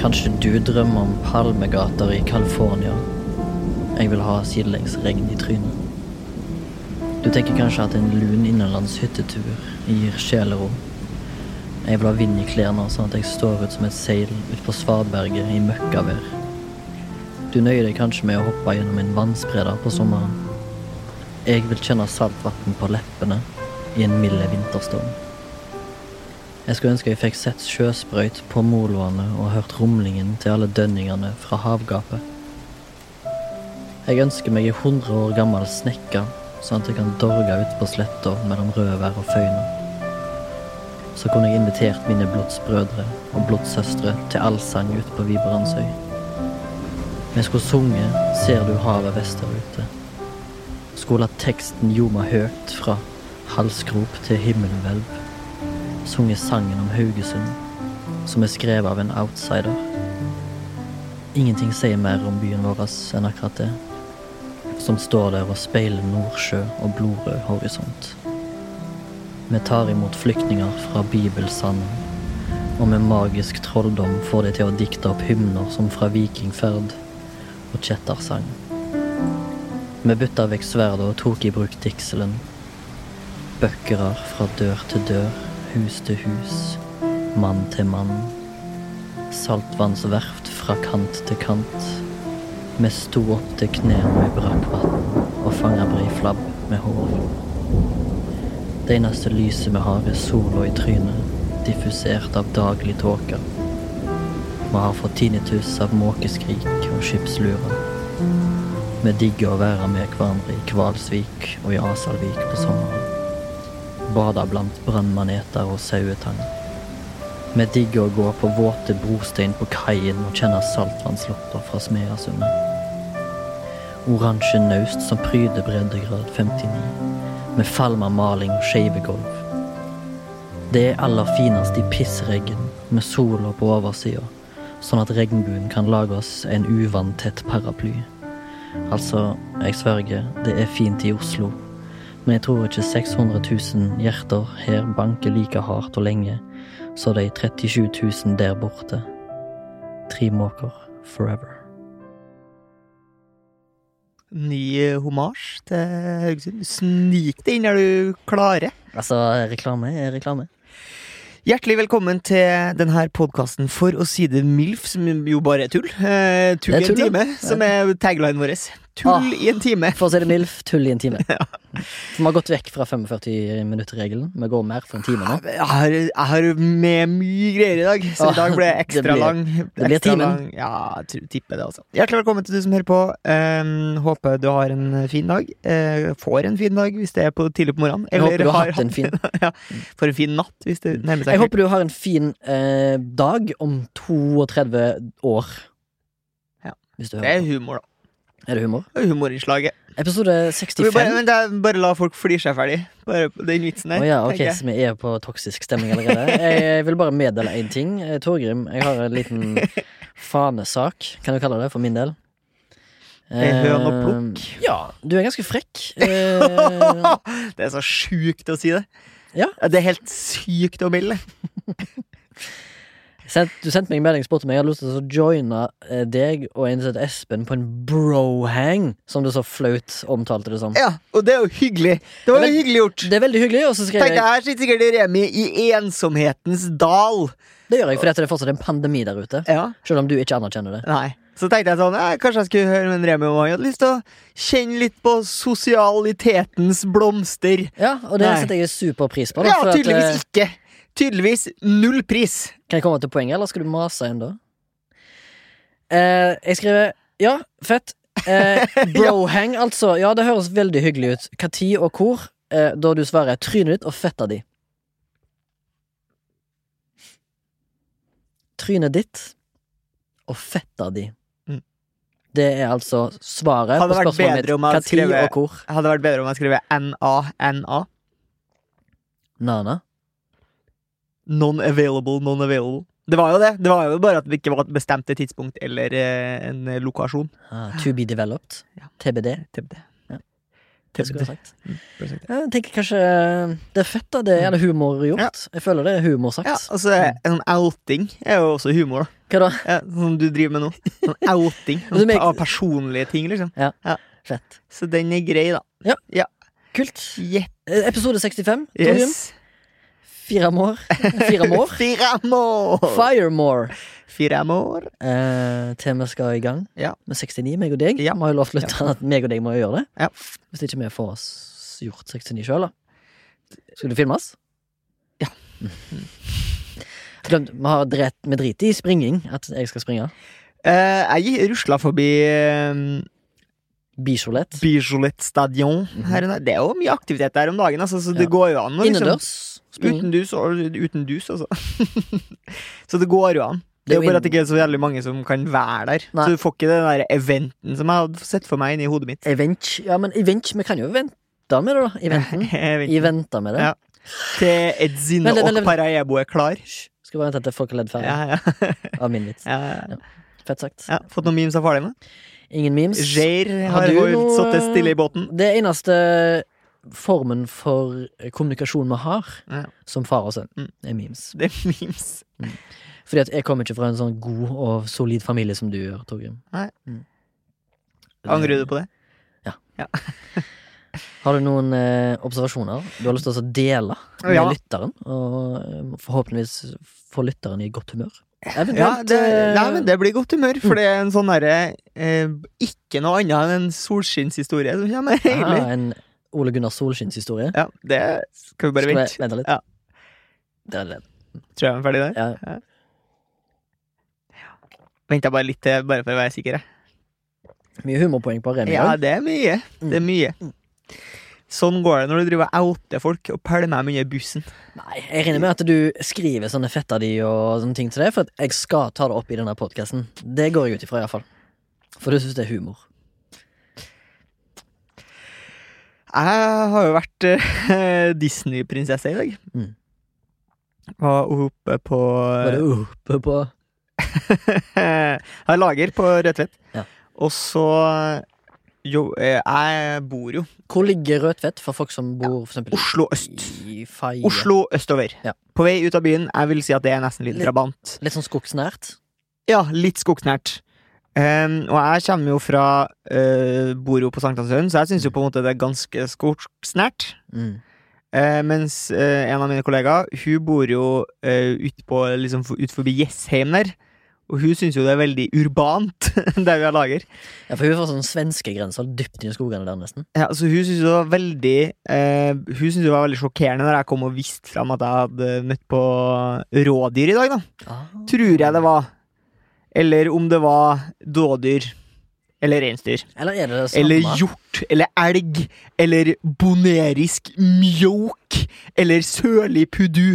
Kanskje du drømmer om palmegater i California. Jeg vil ha sidelengsregn i trynet. Du tenker kanskje at en lun innenlands hyttetur gir sjelero. Jeg vil ha vind i klærne sånn at jeg står ut som et seil ut på Svaberget i møkkavær. Du nøyer deg kanskje med å hoppe gjennom en vannspreder på sommeren. Jeg vil kjenne saltvann på leppene i en mild vinterstorm. Jeg skulle ønske jeg fikk sett sjøsprøyt på moloene og hørt rumlingen til alle dønningene fra havgapet. Jeg ønsker meg ei 100 år gammel snekker, sånn at jeg kan dorge ut på sletta mellom Rødvær og Føyna. Så kunne jeg invitert mine blodsbrødre og blodssøstre til allsang ute på Viberandsøy. Vi skulle sunget 'Ser du havet vesterute'. Skulle latt teksten ljoma høyt fra halsgrop til himmelhvelv sunget sangen om Haugesund, som er skrevet av en outsider. Ingenting sier mer om byen vår enn akkurat det, som står der og speiler Nordsjø og blodrød horisont. Vi tar imot flyktninger fra Bibelsanden, og med magisk trolldom får de til å dikte opp hymner som fra vikingferd og kjettersang. Vi bytta vekk sverdet og tok i bruk dikselen, Bøkkerer fra dør til dør, hus til hus, mann til mann. Saltvannsverft fra kant til kant. Vi sto opp til knærne i brakkvann og fanga breiflabb med hår. Det eneste lyset vi har, er sola i trynet, diffusert av daglig tåke. Vi har fått tinnitus av måkeskrik og skipslurer. Vi digger å være med hverandre i Kvalsvik og i Asalvik på sommeren bada blant brannmaneter og sauetang. Vi digger å gå på våte brostein på kaien og kjenne saltvannslopper fra Smeasundet. Oransje naust som pryder breddegrad 59, med falma maling og skeive gulv. Det er aller finest i pissregn, med sola på oversida, sånn at regnbuen kan lage oss en uvanntett paraply. Altså, jeg sverger, det er fint i Oslo, men jeg tror ikke 600 000 hjerter her banker like hardt og lenge som de 37 000 der borte. Tre måker forever. Ny homasj til Haugesund. Snik det inn når du klarer. Altså, reklame er reklame. Hjertelig velkommen til denne podkasten For å si det MILF, som jo bare er tull. Eh, tull Det er i en tull, ja. time, som er taglinen vår. Ah. Tull i en time. For å si det MILF, tull i en time. Vi har gått vekk fra 45-minutter-regelen. Vi går mer for en time nå. Jeg har, jeg har med mye greier i dag, så Ah, i dag ble jeg det ekstra blir- lang. blir ekstra timen. lang. Ja, jeg tror- tipper det, altså. Hjertelig velkommen til du som hører på. Eh, håper du har en fin dag. Eh, får en fin dag hvis det er på tidlig på morgenen. Jeg håper du har hatt en fin ja, får en fin natt hvis det nærmer seg Jeg håper du har en fin eh, dag om 32 år. Ja. Hvis du Det er hører. humor, da. på. Er det humor? Det er Humorinnslaget. Episode Vi 65. Bare, men da, bare la folk flire seg ferdig. Bare på den vitsen der. Å ja, ok, tenker jeg. så vi er på toksisk stemning allerede. Jeg eh, vil bare meddele én ting. Eh, Torgrim, jeg har en liten fanesak, kan du kalle det, for min del. Eh, høn og plukk. Eh, Ja, du er ganske frekk. Eh, Det er så sjukt å si det. Ja. Det er helt sykt å melde. sendt- du sendte meg en melding og spurte om jeg hadde lyst til å joine eh, deg og en som heter Espen på en brohang, som du så flaut omtalte det som. Ja, og det er jo hyggelig. Det var Men jo hyggelig gjort. Det er veldig hyggelig, og så skrev Tenkte jeg jeg, Her sitter sikkert Remi i ensomhetens dal. Det gjør jeg fordi at det er fortsatt en pandemi der ute. Ja, Selv om du ikke anerkjenner det. nei Så tenkte jeg sånn, eh, kanskje jeg skulle høre med en Remi om han hadde lyst til å kjenne litt på sosialitetens blomster. Ja, Og det Nei. setter jeg super pris på. Da, Ja, for at, eh, tydeligvis ikke. Tydeligvis null pris. Kan jeg komme til poenget, eller skal du mase ennå? Eh, jeg skriver Ja, fett. Eh, Brohang, altså. Ja, det høres veldig hyggelig ut. Hva tid og hvor? Eh, da du svarer trynet ditt og fetta di. Trynet ditt og fetta di. Mm. Det er altså svaret Hadde på vært spørsmålet mitt. bedre om jeg hadde Hva tid skrevet- og hvor? Hadde vært bedre om jeg skrev NA-NA. Nana? Non-available, non-available. Det var jo det. Det var jo bare at det ikke var et bestemte tidspunkt eller eh, en eh, lokasjon. Ah, to be developed? Ja. TBD? Tebde. Ja. Det skulle jeg Tebde. sagt. Prosjektet. Jeg tenker kanskje eh, det er fett, da. Det er det humor gjort. Jeg føler det er humor sagt. Ja, altså, Mm. en sånn outing er jo også humor, da. Hva da? Ja, sånn du driver med nå. Sånn outing Men du sånn, merker- av personlige ting, liksom. Fett. Så den er grei, da. Kult. Yes. Eh, Episode 65. Torgrim. yes. Fire more. Fire more. Fire mål! Fire more. Fire mål. Eh, Temaet skal i gang Ja. med 69, meg og deg. Ja. Vi har jo lovt lytterne at meg og deg må jo gjøre det. Ja. Hvis ikke vi får s- gjort 69 sjøl, da. Skal du filmes? Ja. Glemt, vi har drept, vi driter i springing. At jeg skal springe. Eh, jeg rusla forbi eh, Bisolett. Bijolet Stadion. her og der. Det er jo mye aktivitet der om dagen, altså, så det Ja. går jo an. å liksom- Innendørs. Springing. Uten dus, og- uten dus altså. så det går jo an. Det er jo inn- bare at det ikke er så jævlig mange som kan være der. Nei. Så du får ikke den der eventen som jeg hadde sett for meg inni hodet mitt. Event. Ja, men event. Vi kan jo vente med det, da. Eventen. Event. Vi venter med det. Ja. Til Edzine Vent, vent, og vent. Paraebo er klar. Skal bare vente til folk har ledd ferdig Ja, ja. av min vits. ja, ja. Fett sagt. ja. Fått noen memes av faren din? Ingen memes. Jair Har har du jo noe- sittet stille i båten. Det eneste formen for kommunikasjon vi har, Ja. som far og sønn, Mm. er memes. Det er memes. Fordi at jeg kommer ikke fra en sånn god og solid familie som du gjør, Torgrim. Nei. Mm. Angrer du på det? Har du noen eh, observasjoner du har lyst til å dele med Ja. lytteren? Og eh, forhåpentligvis få lytteren i godt humør? Ja, Eventuelt det, eh, Mm. nei, men det blir godt humør, for det er en sånn derre eh, Ikke noe annet enn en solskinnshistorie som kommer, egentlig. ah, en Ole Gunnar Solskinns historie. Ja, det skal vi bare Skal vi vente. vente litt? Ja. Det er det. Tror jeg vi er ferdig der. Ja. Venter bare litt til, bare for å være sikker. jeg. Mye humorpoeng på Remi. i Ja, dag. det er mye. Det er mye. Sånn går det når du driver og outer folk og pælmer dem under bussen. Nei, jeg regner med at du skriver sånne fetta di og sånne ting til det, for at jeg skal ta det opp i denne podkasten. Det går jeg ut ifra, iallfall. For du syns det er humor. Jeg har jo vært eh, Disney-prinsesse i dag. Mm. Var oppe på Var det oppe på Har lager på Rødtvet. Ja. Og så jo, eh, Jeg bor jo Hvor ligger Rødtvet for folk som bor for eksempel, Oslo øst. i Faye? Oslo østover. Ja. På vei ut av byen. Jeg vil si at det er nesten litt Litt- drabant. Litt sånn skogsnært? Ja, litt skogsnært. Ehm, og jeg kommer jo fra eh, Bor jo på Sankthanshaugen, så jeg syns jo på en måte det er ganske skogsnært. Mm. Eh, mens eh, en av mine kollegaer, hun bor jo eh, ut, på, liksom, for- ut forbi Jessheim der. Og hun syns jo det er veldig urbant, der vi har lager. Ja, for hun er fra sånn svenskegrensa, dypt inn i skogene der, nesten. Ja, så hun syntes det var veldig eh, Hun syntes det var veldig sjokkerende når jeg kom og viste fram at jeg hadde møtt på rådyr i dag, da. Ah. Tror jeg det var. Eller om det var dådyr. Eller reinsdyr. Eller er det det samme? Eller hjort. Eller elg. Eller bonerisk mjåk. Eller sørlig puddu.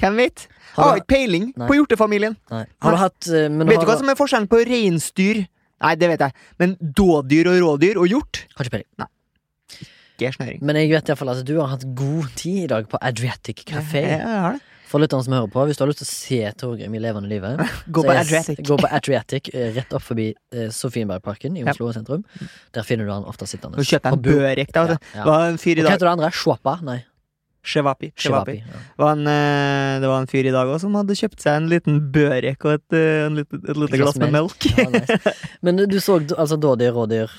Hvem vet? Jeg Har har du, ikke peiling Nei. på hjortefamilien. nei. Har du hatt eh, men Vet har, du hva som er forskjellen på reinsdyr? Nei, det vet jeg. Men dådyr og rådyr og hjort? Har ikke peiling. Ikke snøring. Men jeg vet iallfall at du har hatt god tid i dag på Adriatic Café. Ja, jeg har det. For lytterne som hører på, hvis du har lyst til å se Torgrim i levende livet Gå så på er- Adriatic. Gå på Adriatic eh, rett opp forbi eh, Sofienbergparken i Ja. Oslo sentrum. Der finner du han ofte sittende. Nå kjøpte På jeg en bu- børek, Ja, da. vet du. ja. Det var en fyr i Hva dag heter det andre? Shwapa? Nei, Shewapi. Shewapi. Ja. Det var en, eh, det var en fyr i dag også som hadde kjøpt seg en liten børek og et, eh, en liten, et lite glass med melk. Ja, nice. Men du så d- altså dådyr, rådyr,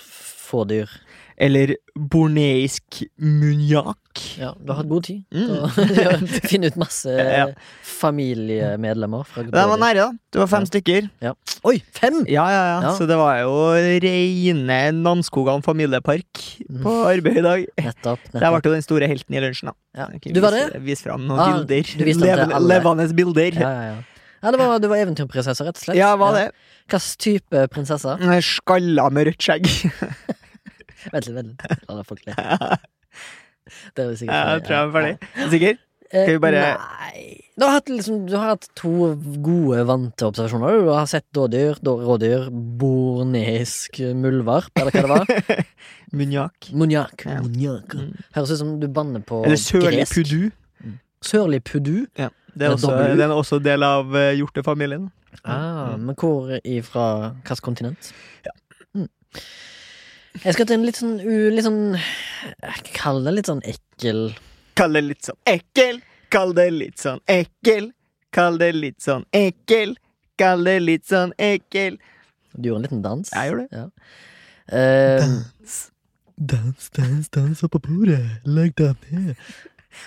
fådyr. Eller borneisk munjakk. Ja, du har hatt god tid. Mm. Mm. Finne ut masse Ja. familiemedlemmer fra De var dådyr. nære, da. Det var fem Ja. stykker. Ja. Oi, fem! Ja, ja, ja, Ja. Så det var jo reine Namsskogan familiepark Mm. på arbeid i dag. Nettopp. Der ble nettopp. jo den store helten i lunsjen, da. Ja. Jeg kan Du var vise- det? Vise fram noen Ah, bilder. du viste den til Levende- alle. Levende bilder. Ja, Ja, ja, ja. Ja, det var, det var eventyrprinsesser, rett og slett. ja var det. Hva slags type prinsesser? Skalla med rødt skjegg. Vent litt, vent litt. La da folk le. Det er jo sikkert Ja, Jeg tror jeg er ferdig. ferdig. Sikker? Ja. Eh, Skal vi bare- Nei. Du har, hatt liksom, du har hatt to gode, vante observasjoner. Du har sett dådyr, då- rådyr, bornesk muldvarp, eller hva det var. Munjak. Monjak. Ja. Monjak. Mm. Høres ut som du banner på Eller sørlig gresk. pudu. Sørlig pudu. Det er, Med også, W. den er også del av eh, hjortefamilien. Ah, men hvor ifra hvilket kontinent? Mm. Jeg skal til en litt sånn, u, litt sånn jeg Kall det litt sånn ekkel Kall det litt sånn ekkel, kall det litt sånn ekkel, kall det litt sånn ekkel, kall det litt sånn ekkel. Du gjorde en liten dans. Jeg gjorde det. Ja. Eh, Dans, dans, dans oppå bordet. Legg deg ned.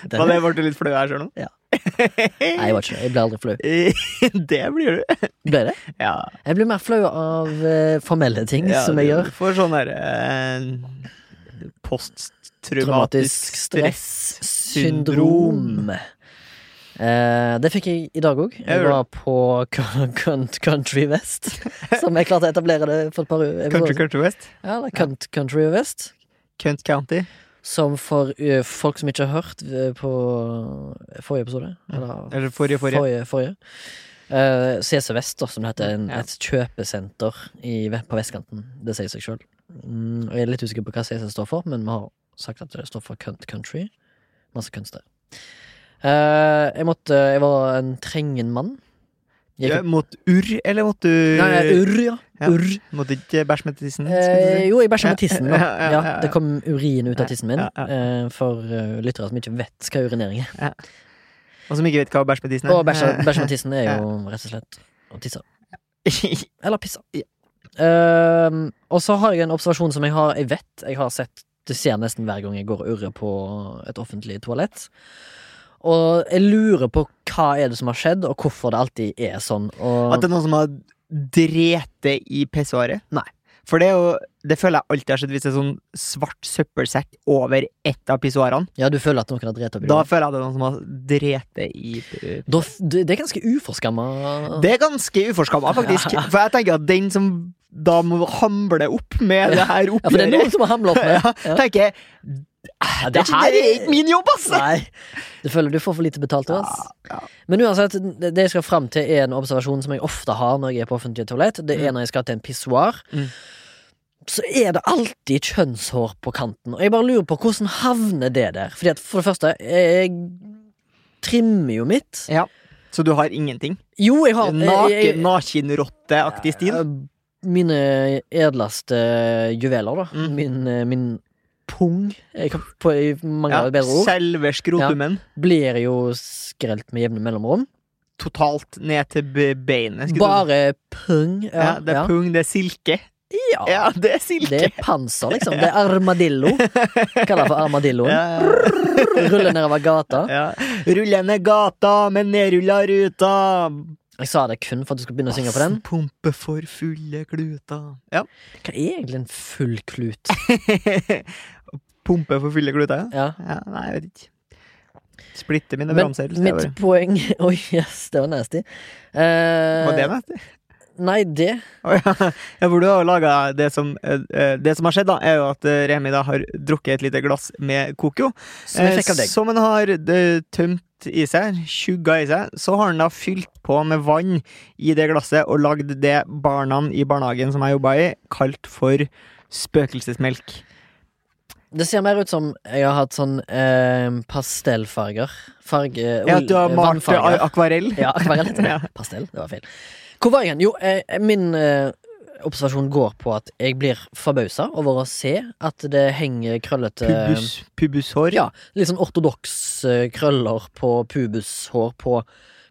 den- Var det ble du litt flau her sjøl nå? Ja. Nei, jeg var ikke det. Jeg ble aldri flau. det blir du. Ble det? Ja. Jeg blir mer flau av eh, formelle ting ja som jeg gjør. For sånn derre eh, Traumatisk Posttraumatisk stress. stressyndrom. Eh, det fikk jeg i dag òg. Jeg gjorde var på Con- Con- Country West. Som jeg klarte å etablere det for et par u- episoder Country siden. Country West. Ja, eller Cunt- Country West. Cunt County. Som for ø, folk som ikke har hørt ø, på forrige episode Eller Eller Mm. forrige, forrige. forrige, forrige. Eh, CC Vest, da, som det heter. En, Ja. Et kjøpesenter i, ve- på vestkanten. Det sier seg sjøl. Mm, og jeg er litt usikker på hva CC står for, men vi har sagt at det står for Cunt Country. Masse kunst der. Eh, jeg måtte Jeg var en trengen mann. Gikk Ja, mot urr, eller mot du Nei, nei, urr, ja. Ja. Urr. Måtte ikke bæsje med tissen? Eh, skulle du si? jo, jeg bæsja med tissen. Da. Ja, ja, Ja, ja, ja. det kom urin ut av tissen min. Ja, ja. eh, For eh, lyttere som ikke vet hva urinering er. Og som ikke vet hva bæsj med tissen Og bæsja bæsja med tissen er jo rett og slett å tisse. Eller pisse. Ja. Ehm, og så har jeg en observasjon som jeg har Jeg vet jeg har sett Det ser nesten hver gang jeg går og urrer på et offentlig toalett. Og jeg lurer på hva er det som har skjedd, og hvorfor det alltid er sånn. At Og det er noen som har drete i pissoaret? Nei. For det er jo Det føler jeg alltid har skjedd hvis det er sånn svart søppelsekk over ett av pissoarene. ja, du føler at noen har drept oppi Da deg. føler jeg at det er noen som har drete i eh, Da f- Det det er ganske uforskamma. Det er ganske uforskamma, faktisk. For jeg tenker at den som da må hamle opp med det her Ja, for det er noen oppgjøret, som har hamla opp med ja, tenker jeg Ja, Det her er ikke min jobb, ass! Nei. Du føler du får for lite betalt av oss. Men uansett, det det jeg skal fram til, er en observasjon som jeg ofte har når jeg er på offentlig toalett. Det er når jeg skal til en pissoar. Mm. Så er det alltid kjønnshår på kanten. Og jeg bare lurer på hvordan havner det der? Fordi at For det første, jeg trimmer jo mitt. Ja. Så du har ingenting? Jo, jeg har jeg- jeg- Naken, Nakenrotteaktig stil? Mine edleste eh, juveler, da. Mm. Min, eh, min pung. Jeg kan- på- jeg mangler Ja, et bedre ord. selve skrotumen. Blir jo skrelt med jevne mellomrom. Totalt ned til be- beinet. skulle du si. Bare pung. Ja, ja, det er ja. pung, det er silke. Ja, Ja, det er silke! Det er panser, liksom. Det er armadillo. Kaller det for armadilloen. ja, ja, Ruller nedover gata. ja. Rulle ned gata med nedrulla ruta. Jeg sa det kun for at du skulle begynne å synge på den. Pumpe for fulle kluter. Ja. Hva er egentlig en full klut? Pumpe for fulle kluter, ja. Ja. Ja, nei, jeg vet ikke. Splitte mine Men bramser. mitt poeng Oi, yes, det var nasty. Eh, Var det nasty? Nei, det Å ja. ja, for du har jo laga det som eh, eh, Det som har skjedd, da, er jo at eh, Remi da har drukket et lite glass med Coco. som jeg fikk av eh, deg. Som han har eh, tømt i seg, tjugga i seg. Så har han da fylt på med vann i det glasset og lagd det barna i barnehagen som jeg jobba i, kalt for spøkelsesmelk. Det ser mer ut som jeg har hatt sånn eh, pastellfarger. Farge Ja, at du har ol- malt det vannfarger. a- akvarell. eh, Ja, akvarell heter det. Ja. sånn, Pastell, det var feil. Hvor var jeg hen? Jo, eh, min eh, observasjon går på at jeg blir forbausa over å se at det henger krøllete Pubus, pubushår. Ja, litt sånn ortodoks eh, krøller på pubushår på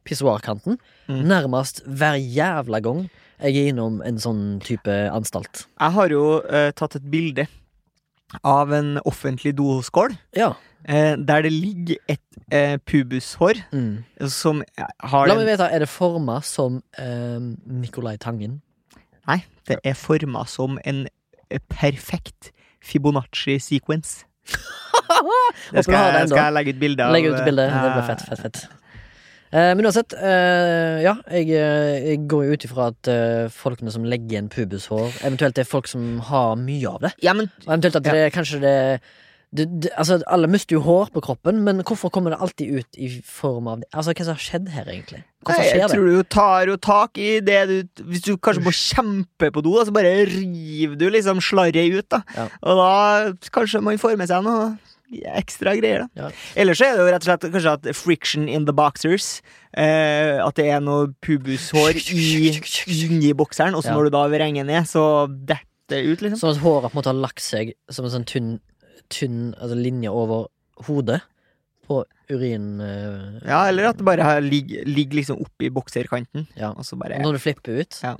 pissoarkanten. Mm. Nærmest hver jævla gang jeg er innom en sånn type anstalt. Jeg har jo eh, tatt et bilde av en offentlig doskål. Ja. eh, der det ligger et eh, pubushår Mm. som har La meg den, vite, er det forma som eh, Nicolai Tangen? Nei, det er forma som en eh, perfekt Fibonacci sequence. Håper du Det skal, har jeg- den, da. skal jeg legge ut bilde av. Legg ut bildet. eh, Det blir fett, fett, fett. Eh, men uansett, eh, ja, jeg, eh, jeg går jo ut ifra at eh, folkene som legger igjen pubushår, eventuelt det er folk som har mye av det. Ja, men Og eventuelt at det kanskje det du, du, altså, Alle mister jo hår på kroppen, men hvorfor kommer det alltid ut i form av det? Altså, Hva som har skjedd her, egentlig? Hvorfor Nei, jeg skjer det? tror du tar jo tak i det du Hvis du kanskje må kjempe på do, da, så bare river du liksom slarret ut, da. Ja. Og da kanskje man får med seg noe ekstra greier, da. Ja. Ellers så er det jo rett og slett kanskje at friction in the boxers. Eh, at det er noe pubushår i, inni bokseren, og så Ja. når du da vrenger ned, så detter det ut, liksom. Sånn at håret på en måte har lagt seg som en sånn tynn, tynn altså, linje over hodet på urin... eh, Ja, eller at det bare har- ligger ligger liksom oppi bokserkanten, Ja. og så bare Når du flipper ut? Ja.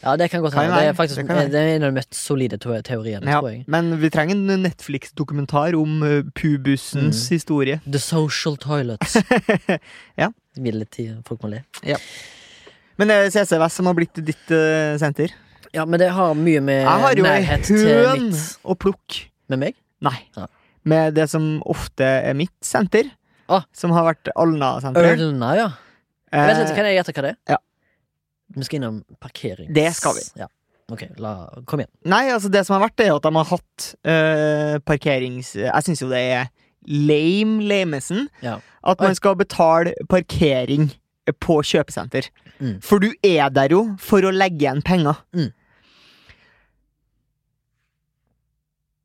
Ja, det kan godt Kan hende. være. Det er faktisk Det det kan være. er en av de mest solide te- teoriene, ja, tror jeg. men vi trenger en Netflix-dokumentar om eh, pubusens Mm. historie. The Social Toilets. Ja. Midlertid. Folk må le. Men det er CCVS som har blitt ditt eh, senter. Ja, men det har mye med Jeg har jo Eh, ei nærhet til høn mitt å plukke. Med meg? Nei. Ja. Med det som ofte er mitt senter. Ah. Som har vært Alna-senteret. Ørna, ja. Jeg vet ikke, Eh, kan jeg gjette hva det er? ja. Vi skal innom parkering. Det skal vi. Ja. Ok, la, kom igjen. nei, altså det som har vært, det er jo at de har hatt eh, parkerings... Jeg syns jo det er lame lamesen. Ja. At Oi. man skal betale parkering på kjøpesenter. Mm. For du er der jo for å legge igjen penger. Mm.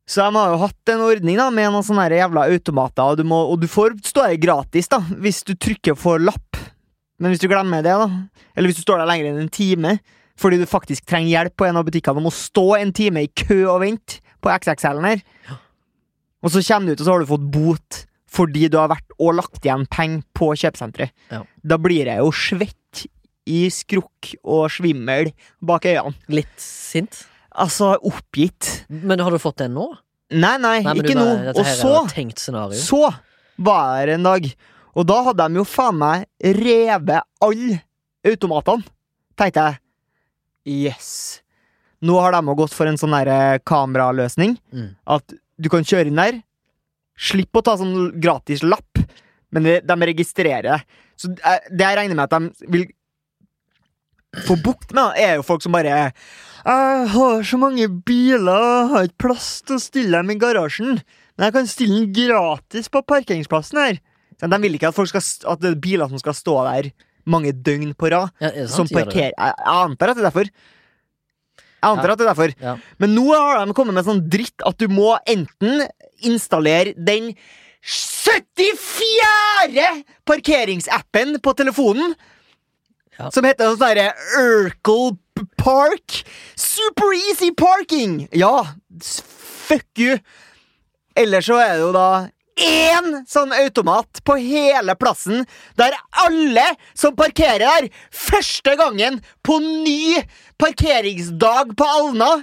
Så de har jo hatt en ordning da med noen sånne her jævla automater, og du, må, og du får stå her gratis da hvis du trykker for lapp. Men hvis du glemmer det, da eller hvis du står der lenger enn en time fordi du faktisk trenger hjelp på en av butikkene om å stå en time i kø og vente på XXL-en her, og så kommer du ut, og så har du fått bot fordi du har vært og lagt igjen penger på kjøpesenteret. Ja. Da blir jeg jo svett i skrukk og svimmel bak øynene. Litt sint. Altså oppgitt. Men har du fått den nå? Nei, nei, Nei, men du Eh, ikke bare- nå. Dette Og her så, er jo et tenkt scenario. så var jeg her en dag, og da hadde de jo faen meg revet alle automatene. Tenkte jeg, yes. Nå har de jo gått for en sånn derre kameraløsning. Mm. At du kan kjøre inn der. Slipp å ta sånn gratis lapp, men de, de registrerer deg. Så det jeg- det jeg regner med at de vil få bukt med, da, er jo folk som bare 'Jeg har så mange biler, jeg har ikke plass til å stille dem i garasjen.' 'Men jeg kan stille den gratis på parkeringsplassen her.' Så de vil ikke at, folk skal, st- at det er biler som skal stå der mange døgn på rad Ja, er det sant? som Gjør det det? parkerer Jeg jeg antar at det er derfor. Jeg antar Ja. at det er derfor. Ja. Men nå har de kommet med sånn dritt at du må enten installere den 74. parkeringsappen på telefonen, Ja. som heter sånn derre Urkel P- Park. Super easy parking! Ja, s- fuck you! Ellers så er det jo da én sånn automat på hele plassen, der alle som parkerer der, første gangen på ny parkeringsdag på Alna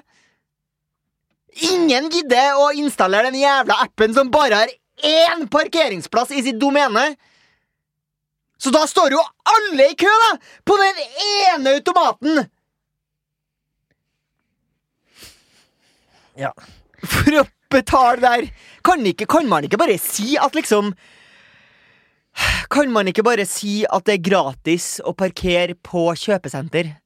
Ingen gidder å installere den jævla appen som bare har én parkeringsplass i sitt domene. Så da står jo alle i kø, da! På den ene automaten! Ja. for å betale der. Kan, ikke, kan man ikke bare si at liksom Kan man ikke bare si at det er gratis å parkere på kjøpesenter?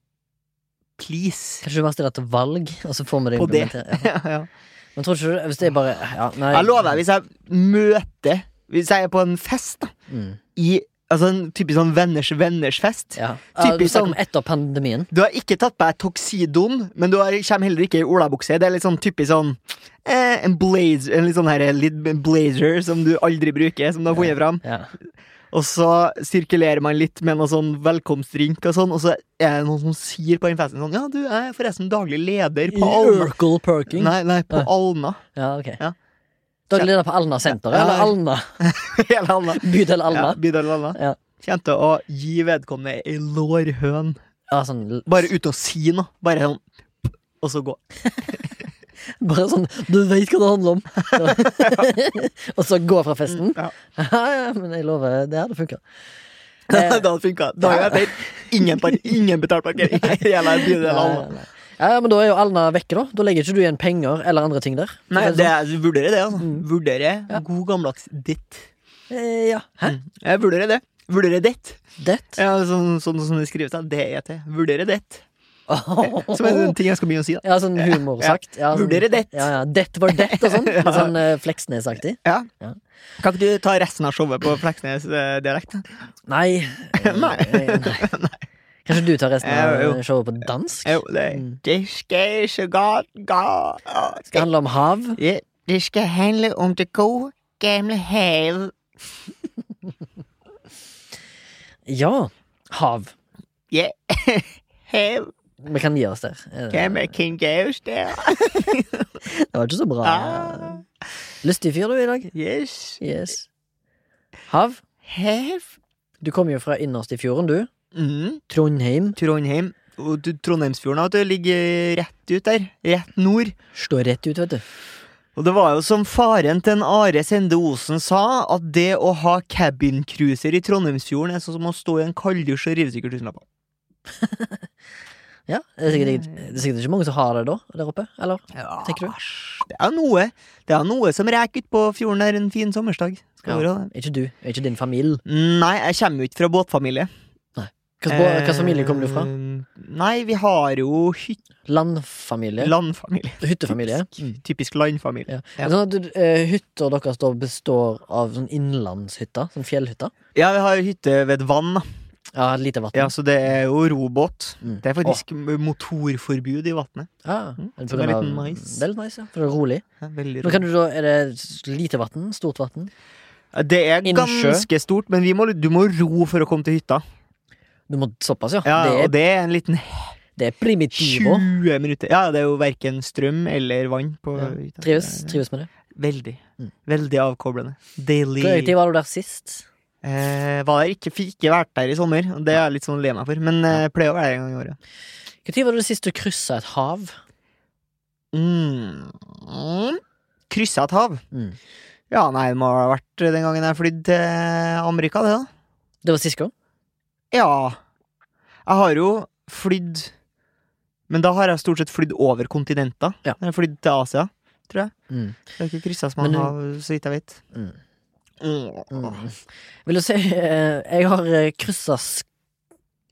Please. Kanskje du bare stiller til valg, og så får vi det På det. implementert. Ja. Ja, ja. Men tror ikke du Hvis det er bare ja, nei, Jeg lover deg, hvis jeg møter Hvis jeg er på en fest, da, Mm, i altså en typisk sånn venners venners fest ja. Ja, Du Typisk snakker om sånn- etter pandemien. Du har ikke tatt på deg toksidon, men du har, kommer heller ikke i olabukse. Det er litt sånn typisk sånn eh, En blazer, en litt sånn her, litt blazer som du aldri bruker, som du har funnet fram. Ja. Og så sirkulerer man litt med noe sånn velkomstdrink og sånn, og så er det noen som sier på den festen sånn Ja, du jeg er forresten daglig leder på Alna. Urkel Parking. Nei, nei, på Ja. Alna. Ja, ok. Ja. Daglig leder på Alna senter, Ja. eller Alna? Hele Alna. Bydel Ja, Alna? Bydel Alna. Ja. Kommer til å gi vedkommende ei lårhøn. Ja, sånn, Bare uten å si noe. Bare sånn Og så gå. bare sånn Du vet hva det handler om! og så gå fra festen? Ja. Ja, ja, men jeg lover, det hadde funka. da hadde det funka. Dagen etter, ingen, par ingen betalt parkering. Hele Bydel Alna. Ja, ja, men da er jo Alna vekke, da. Da legger ikke du igjen penger eller andre ting der. Nei, For å si det, sånn. jeg vurderer det, altså. Vurderer Ja. god gammeldags ditt. Eh, Ja. Hæ? Jeg vurderer det. Vurderer ditt. Det? Ja, sånn, sånn som det skrives da. D-E-T. Vurdere det. Som er en ting jeg skal begynne å si, da. Ja, sånn humorsagt. Ja, sånn, Vurdere dett. Ja, ja. Dett var dett, og sånn. Litt sånn eh, Fleksnes-aktig. Ja. Ja. Kan ikke du ta resten av showet på eh, Fleksnes-dialekt? Nei. eh, Nei. eh, nei. Kanskje du tar resten av Jo, eh, showet på dansk? Jo, det er Mm. Det skal så godt gå. Skal handle om hav. Ja, det skal handle om det gode, gamle havet. Ja. Hav. Ja, hav Vi kan gi oss der. Eh, kan man kan gaves der. Det var ikke så bra. Ah. Lystig fyr du er i dag. Yes. Yes. Hav. Hav. Du kommer jo fra innerst i fjorden, du. Mm. Trondheim Trondheim. Og du- Trondheimsfjorden vet du, ligger rett ut der. Rett nord. står rett ut, vet du. Og det var jo som faren til en Are Sende Osen sa, at det å ha cabincruiser i Trondheimsfjorden er sånn som å stå i en kalddusj og rive sikkert tusenlapper. Ja, det er, sikkert, ikke- det er sikkert ikke mange som har det da, der oppe? Eller? Eh. Ja, Tenker du? Det er noe Det er noe som reker ut på fjorden der en fin sommersdag. Skal være det. Ikke du, ikke din familie. Nei, jeg kommer jo ikke fra båtfamilie. Hvilken eh, familie kommer du fra? Eh, Nei, vi har jo hytte... Landfamilie? Landfamilie. Hyttefamilie? Typisk, typisk landfamilie. Ja. Ja. Men Sånn at eh, hytter deres da består av sånn innlandshytter? Sånn fjellhytter? Ja, vi har jo hytte ved et vann. da. Ja, lite vann? Ja, Så det er jo robåt. Mm. Det er faktisk motorforbud i vannet. Ah, Mm, på som er grunn av, litt nice. Det er litt nice, ja. For det er rolig. Ja, veldig Men rolig. kan du da, Er det s- lite vann? Stort vann? Det er Innsjø? ganske stort, men vi må, du må ro for å komme til hytta. Du må såpass, ja? Ja, det, Og det er en liten er, det er primitivo. 20 minutter. Ja, det er jo verken strøm eller vann på Ja, hytta. Trives, trives med det. Veldig. Mm. Veldig avkoblende. Daily. Hvor tid var du der sist? Eh, var der ikke, fikk ikke vært der i sommer, og det er jeg litt sånn lei meg for. Men eh, pleier å være der en gang i året. Når var det sist du kryssa et hav? Mm. Kryssa et hav. Mm. Ja, nei, det må ha vært den gangen jeg flydde til Amerika, det, da. Det var sist gang. Ja. Jeg har jo flydd Men da har jeg stort sett flydd over kontinenter. Ja. Jeg har flydd til Asia. Mm. Jeg har ikke kryssa så Men du- mange hav, så vidt jeg vet. Mm. Mm. Mm. Vil du si eh, Jeg har eh, kryssa Sk-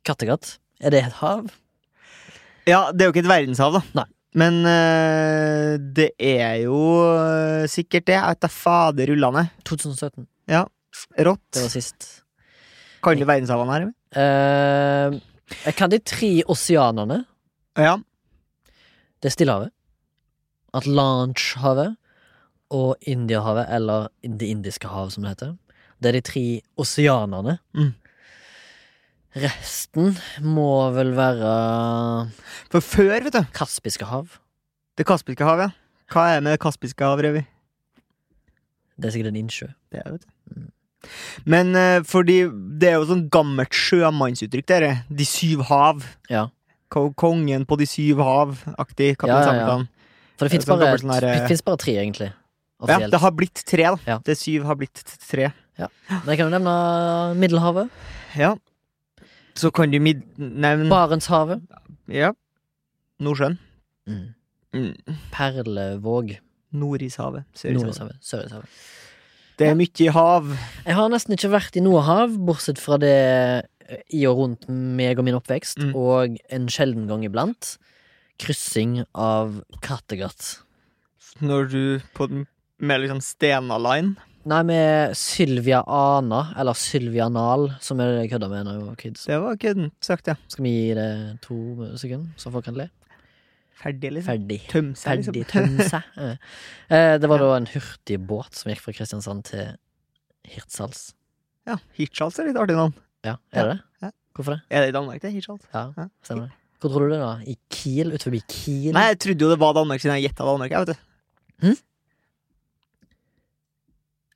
Kattegat. Er det et hav? Ja, det er jo ikke et verdenshav, da. Nei. Men eh, det er jo eh, sikkert det. Jeg vet da fader rullende. 2017. Rått. Det var sist. Kan du verdenshavene her? eller? Eh, jeg kan de tre oseanene. Ja. Det er Stillehavet. Atlanterhavet. Og Indiahavet, eller Det indiske hav, som det heter. Det er de tre oseanene. Mm. Resten må vel være For før, vet du. Kaspiske hav. Det kaspiske havet. ja. Hva er det med det kaspiske hav, Røvi? Det er sikkert en innsjø. Det er det, vet du. Men eh, fordi det er jo sånn gammelt sjømannsuttrykk, dere. De syv hav. Ja. Ko- Kongen på de syv hav-aktig. Kaptein Ja, ja, ja. Sabeltann. For det Det er fins sånn bare, dobbelt sånn her, eh, det finnes bare tre, egentlig. Ja, Offisielt. det har blitt tre, da. Ja. Det syv har blitt tre. Men jeg kan jo nevne Middelhavet, Ja. Så kan du mid... Nei, men Barentshavet, Ja. Nordsjøen. mm. Mm. Perlevåg, Nordishavet. Sørishavet. Nordishavet, Sørishavet. Det er mye hav. Jeg har nesten ikke vært i noe hav, bortsett fra det eh, i og rundt meg og min oppvekst, Mm. og en sjelden gang iblant kryssing av Kattegat. Når du på den med liksom Stena-line. Nei, med Sylvia Ana, eller Sylvia Nal, som jeg kødda med da jeg var kids. Det var køddent sagt, ja. Skal vi gi det to sekunder, så folk kan le? Ferdig, liksom. Ferdig. Tømme seg, liksom. Ferdig tømse. Eh, Det var da en hurtig båt som gikk fra Kristiansand til Hirtshals. Ja, Hirtshals er litt artig navn. Ja, er det Ja. det? Hvorfor det? Er det i Danmark, det? Hirtshals? Ja, Ja. stemmer det. Hvor tror du det da? I Kiel? Ut forbi Kiel? Nei, jeg trodde jo det var Danmark siden jeg gjetta Danmark. Jeg, vet du. Hm?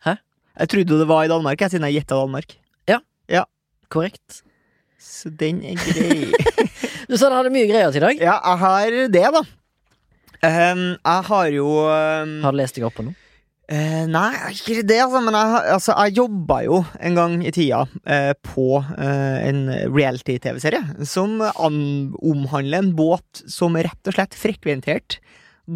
Hæ? Jeg trodde jo det var i Danmark, jeg, siden jeg gjetta Danmark. Korrekt. Så den er grei. Du sa du hadde mye greier til i dag. ja, jeg har det, da. Ehm, jeg har jo ehm, Har du lest deg opp på noe? Eh, nei, ikke det, altså, men jeg, har- altså, jeg jobba jo en gang i tida eh, på eh, en reality-TV-serie som an omhandler en båt som rett og slett frekventert,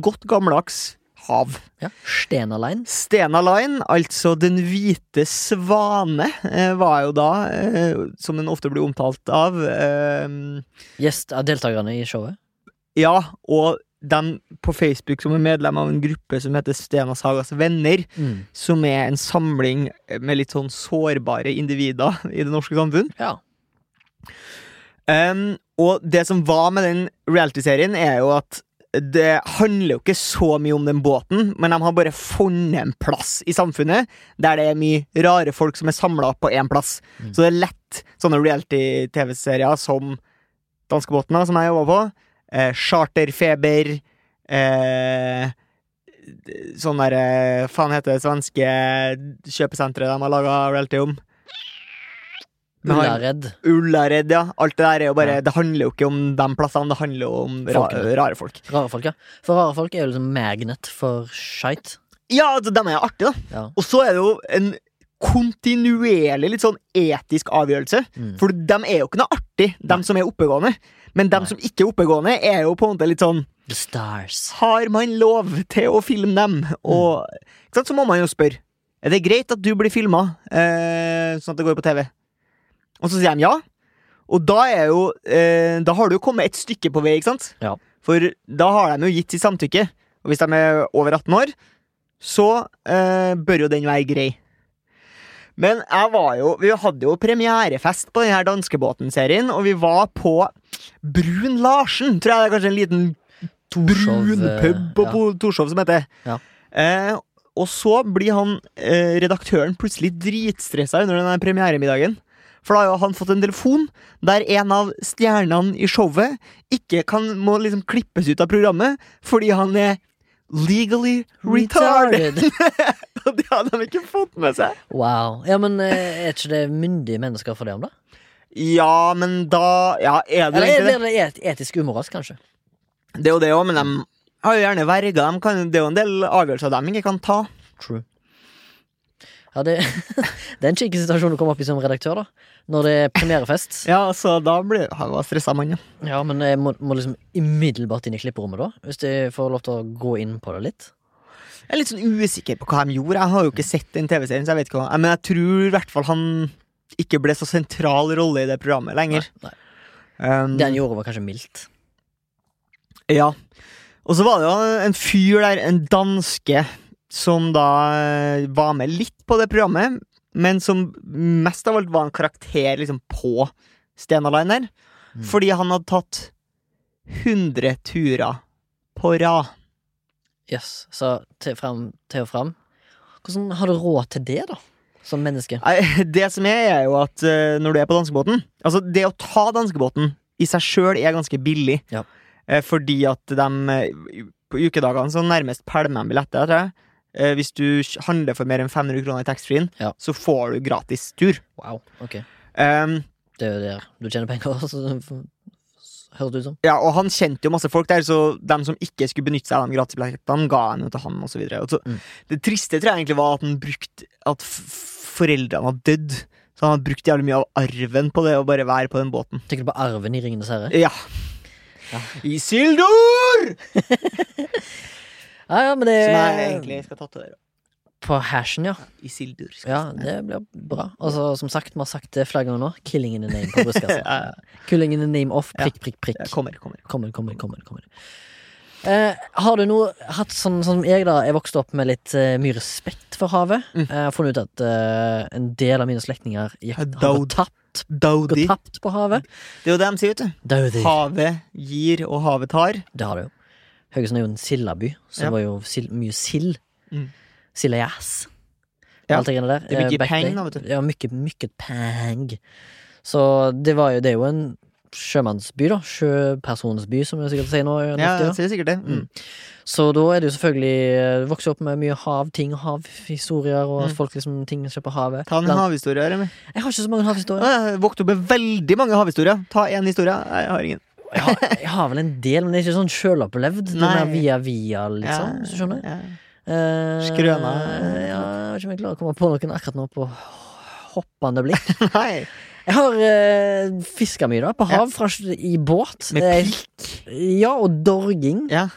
godt gammeldags hav. Ja. Stenalein. Stena Line, altså Den hvite svane, eh, var jo da, eh, som den ofte blir omtalt av eh, Gjest av deltakerne i showet. Ja, og de på Facebook som er medlem av en gruppe som heter Stena Sagas venner, som er en samling med litt sånn sårbare individer i det norske samfunn. Ja. Em, og det som var med den reality-serien, er jo at det handler jo ikke så mye om den båten, men de har bare funnet en plass i samfunnet der det er mye rare folk som er samla på én plass. Mm. Så det er lett sånne reality-TV-serier som Danskebåten, da, som jeg jobba på, eh, Charterfeber eh, Sånn derre Faen heter det svenske kjøpesenteret de har laga reality om? Med han- Ullared. Ullared, ja. Alt det der er jo bare Ja. Det handler jo ikke om de plassene, det handler jo om ra Folkene. rare folk. Rare folk, ja. For rare folk er jo liksom magnet for skeit. Ja, altså, de er jo artige, da. Ja. Og så er det jo en kontinuerlig litt sånn etisk avgjørelse. Mm. For de er jo ikke noe artig, de som er oppegående. Men de Nei. som ikke er oppegående, er jo på en måte litt sånn The Stars. Har man lov til å filme dem? Og ikke sant, så må man jo spørre. Er det greit at du blir filma, eh, sånn at det går på TV? Og så sier de ja. Og da er jo eh, Da har du jo kommet et stykke på vei, ikke sant? Ja. For da har de jo gitt sitt samtykke. Og hvis de er over 18 år, så eh, bør jo den være grei. Men jeg var jo Vi hadde jo premierefest på denne danskebåten-serien, og vi var på Brun Larsen, tror jeg det er kanskje en liten Torshov, brun eh, pub på ja. Bo- Torshov som heter. Ja. Eh, og så blir han eh, redaktøren plutselig dritstressa under denne premieremiddagen. For da har jo han fått en telefon der en av stjernene i showet ikke kan, må liksom klippes ut av programmet fordi han er legally retarded. Og det hadde han ikke fått med seg. Wow. Ja, men eh, er ikke det myndige mennesker for det om det? Ja, men da Ja, er det jo Eller egentlig er det? blir det et, etisk umoralsk, kanskje? Det er jo det òg, men de har jo gjerne verga. De kan, det er jo en del avgjørelser de ikke kan ta. True. Ja, det, det er en kinkig situasjon å komme opp i som redaktør, da. Når det er premierefest. Ja, så da blir han var stressa, mann. Ja. Ja, men jeg må, må liksom umiddelbart inn i klipperommet, da. Hvis jeg får lov til å gå inn på det litt. Jeg er litt sånn usikker på hva de gjorde. Jeg har jo ikke sett den TV-serien, så jeg vet ikke hva Men jeg tror i hvert fall han ikke ble så sentral rolle i det programmet lenger. Nei, Um, Det han gjorde, var kanskje mildt. ja. Og så var det jo en fyr der, en danske, som da eh, var med litt på det programmet, men som mest av alt var en karakter liksom på Stena Line der. Mm. Fordi han hadde tatt 100 turer på rad. Yes. Så til, frem, til og frem. Hvordan har du råd til det, da? Som menneske? Nei, Det som er, er jo at eh, når du er på danskebåten Altså, det å ta danskebåten i seg sjøl er ganske billig. Ja. Eh, Fordi at de eh, på ukedagene så nærmest pælmer de billetter, tror jeg. Eh, Hvis du kj- handler for mer enn 500 kroner i taxfree-en, Ja. så får du gratis tur. Wow. Ok. Um, Det er jo der du tjener penger, så høres det ut som. ja, og han kjente jo masse folk der, så de som ikke skulle benytte seg av de gratisbillettene, ga han jo til han, og så videre. Og så, Mm. Det triste tror jeg egentlig var at han brukte At f- foreldrene hadde dødd. Så han hadde brukt jævlig mye av arven på det å bare være på den båten. Tenker du på arven i Ringenes herre? Ja. Ja. Isildur! Ja, ja, men det Som jeg egentlig skal tatovere. På hashen, ja. Isildur. skal Ja, Det blir bra. Altså, som sagt, vi har sagt det flere ganger nå. Killing in the name på jeg- brystkassa. Ja, ja. Killing in the name off, prikk, prikk, Jeg prikk. Eh, kommer, kommer. Kommer, kommer, kommer. kommer. Eh, har du noe hatt sånn som jeg, da? Jeg vokste opp med litt eh, mye respekt for havet. Mm. Jeg har funnet ut at eh, en del av mine slektninger gikk- har Død. gått tapt, Dowdy. gått Det tapt på havet. er jo det de sier, vet du. Dødig. Havet gir, og havet tar. Det har det jo. Haugesund er jo en sildeby, så Ja. det var jo sil, mye sild. Mm. Sild og jazz. Ja. Alt det greiene der. Det er mye Eh, back peng day. da, vet du. Ja, mye, mye peng. Så det, var jo, det er jo en sjømannsby, da. Sjøpersonsby, som jeg sikkert sier nå. i Ja, norsk, de sier sikkert det. Mm. Så da er det jo selvfølgelig eh, Vokser opp med mye hav, ting, havhistorier, og at Mm. folk liksom ting skjer på havet. Ta en Blant- havhistorie. her, Emil. Jeg har ikke så mange havhistorier. Jeg vokste opp med veldig mange havhistorier. Ta én historie. Jeg har ingen. Jeg har, jeg har vel en del, men det er ikke sånn sjølopplevd. Det er Nei. mer via via, liksom. Ja, Hvis du skjønner? ja. Eh, Skrøna. Ja, jeg vet ikke om jeg klarer å komme på noen akkurat nå på hoppende blikk. Nei. Jeg har eh, fiska mye da, på hav, fra, i båt. Med Eh, Ja, og dorging. Ja.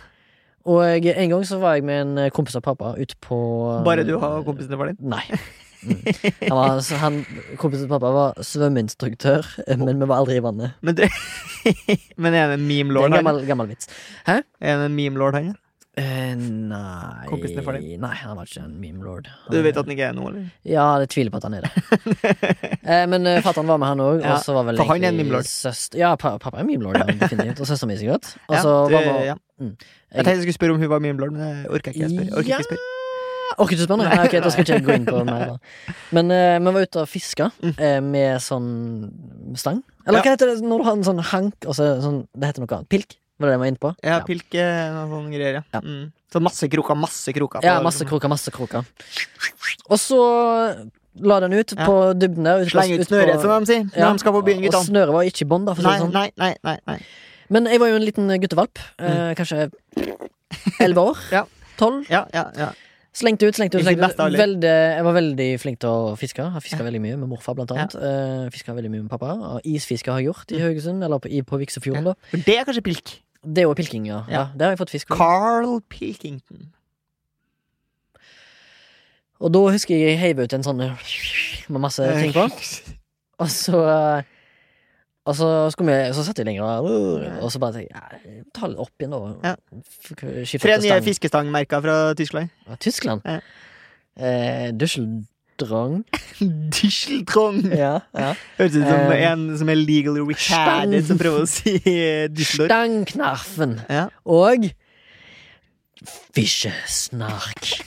Og en gang så var jeg med en eh, kompis av pappa ute på Bare du har kompisen til faren din? Nei. Mm. Han var, så han, kompisen til pappa var svømmeinstruktør, men vi var aldri i vannet. Men, du, men er han en Det er meme-lord, en han? gammel, gammel vits. Er han en meme-lord, han? Eh, nei Kompisen til faren Nei, han var ikke en meme lord. Han- Du vet at han ikke er noe, eller? Ja, jeg tviler på at han er det. eh, men eh, fatter'n var med, han òg. Ja, og så var vel for han er en egentlig memelord. søst- Ja, pa pappa er en memelord, ja, definitivt. Og søsteren min, sikkert. Og så var ja, du, vi- ja. Mm. Jeg tenkte jeg skulle spørre om hun var meme-lord, men jeg orker ikke jeg spør. Orker ikke jeg spør. Orker ikke å spørre? Nei, ok, da skal ikke jeg gå inn på mer. da. Men eh, vi var ute og fiska Mm. eh, med sånn stang. Eller hva heter det når du har en sånn hank og så er det sånn, Det heter noe annet. Pilk? Var det det vi var inne på? Ja, pilke noen sånne greier, ja. Ja. Mm. Så masse kroker, masse kroker. på- ja masse kroker, masse kroker. Og så la den ut Ja. på dybden der. ute på- Sleng ut ute på- snøret, som de sier, når Ja, de skal på byen, og- Og guttene. snøret var ikke i bånd, da. For å si Nei, det sånn. nei, nei, nei, nei. Men jeg var jo en liten guttevalp. Eh, kanskje elleve år. Mm. Ja. Tolv. Ja, ja, ja. Slengte ut, slengte ut. I sin slengte ut. beste alder. Veldig, jeg var veldig flink til å fiske. Har fiska veldig mye med morfar, blant annet. Ja. fiska veldig mye med pappa. Og isfiske har jeg gjort i Haugesund, eller på, i- på Viksefjorden, da. For det er kanskje pilk. Det er jo pilking, ja. ja. Ja. Der har jeg fått fisk. også. Carl Pilkington. Og da husker jeg jeg heiv ut en sånn eh, med masse ting Eh. på. Og så eh, Og så, skulle vi, så satt vi lenger og Og så bare tenkte jeg ja, ta litt opp igjen, da. Ja. F- Skifte Tre til nye stang. fiskestangmerker fra Tyskland. Ja, Tyskland? Ja. Eh, Düsseldrong. Düsseldrong! Ja, ja. Høres ut som Eh, en som er legally retarded, som prøver å si eh, Düsseldorf. Stangknarfen. Ja. Og Fiskesnark.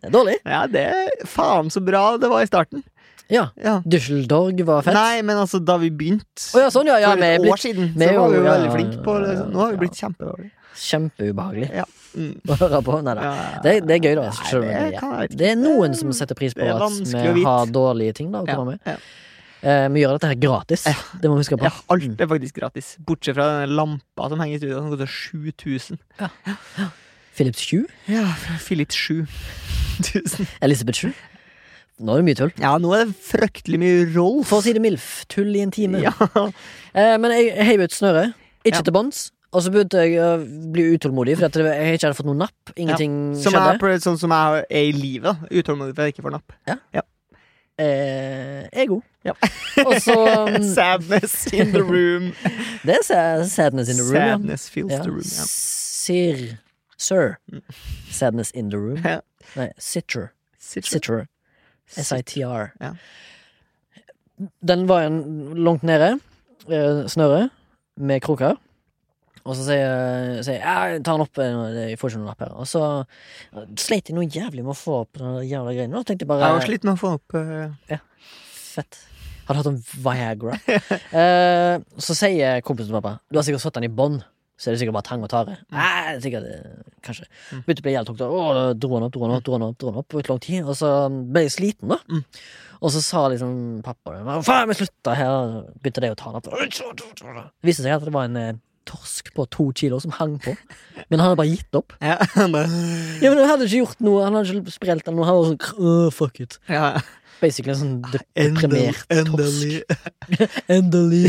det er dårlig. ja, det er faen så bra det var i starten. Ja. Ja. Düsseldorg var fett. Nei, men altså, da vi begynte Å ja, sånn, ja. ja for vi er et år blitt siden, vi så er var vi jo- jo ja, veldig flinke på det. ja, Nå har vi ja. blitt kjempedårlige. kjempeubehagelig Mm. å høre på. Nei da. Det, det er gøy, da. Nei, Selv om det det, kan jeg ikke. det er noen som setter pris på Det er at vanskelig å vi vite. har dårlige ting da, å Ja, komme med. ja. Eh, vi gjør dette her gratis. Det må vi huske på. Ja, alt er faktisk gratis. Bortsett fra denne lampa som henger i studio, som koster 7000. Philips 7. Ja, fra Philips 7000. Elisabeth 7. Nå er det mye tull. Ja, nå er det fryktelig mye Rolf. For å si det milf, tull i en time. Ja. Eh, men jeg heiv ut snøret, ikke Ja. til bånds. Og så begynte jeg å bli utålmodig, fordi at det- jeg ikke hadde fått noen napp. Ingenting Som skjedde. er, prøvd- sånn som jeg er i livet. da. Utålmodig for at jeg ikke får napp. Eh, ego. Ja. og så mm, Sadness in the room. Det er sa- sadness in the room. Sadness fills ja. ja. the room. Ja. Mm. Sir. Sir. Sadness in the room. Ja. Nei, sitter. Sitter. Sitter. SITR. Ja. Den var en langt nede, eh, snøret, med kroker. Og så sier sier jeg «Ja, ta den opp, eh, jeg får ikke noen lapp her. Og så eh, sleit jeg noe jævlig med å få opp den der jævla greia. Og tenkte jeg Jeg bare var slitt med å få opp eh, Fett. Hadde hatt en Viagra. Eh, så sier kompisen til pappa Du har sikkert satt den i bånd. Så er det sikkert bare tang og tare. Nei, det er sikkert, eh, kanskje Begynte å bli jævlig tungt. og, Å, dro han opp, dro han opp, dro han opp, dro han opp ut lang tid. Og så ble jeg sliten, da. Og så sa liksom pappa «Hva Faen, vi slutta her. Begynte de å ta han opp. Det viste seg at det var en eh, torsk på to kilo som hang på. Men han hadde bare gitt opp. ja. Ja, men Han hadde ikke gjort noe. Han hadde ikke sprelt eller noe. Han var sånn «Åh, Fuck it. ja. Basically en sånn dep- Endel, deprimert torsk. endelig. endelig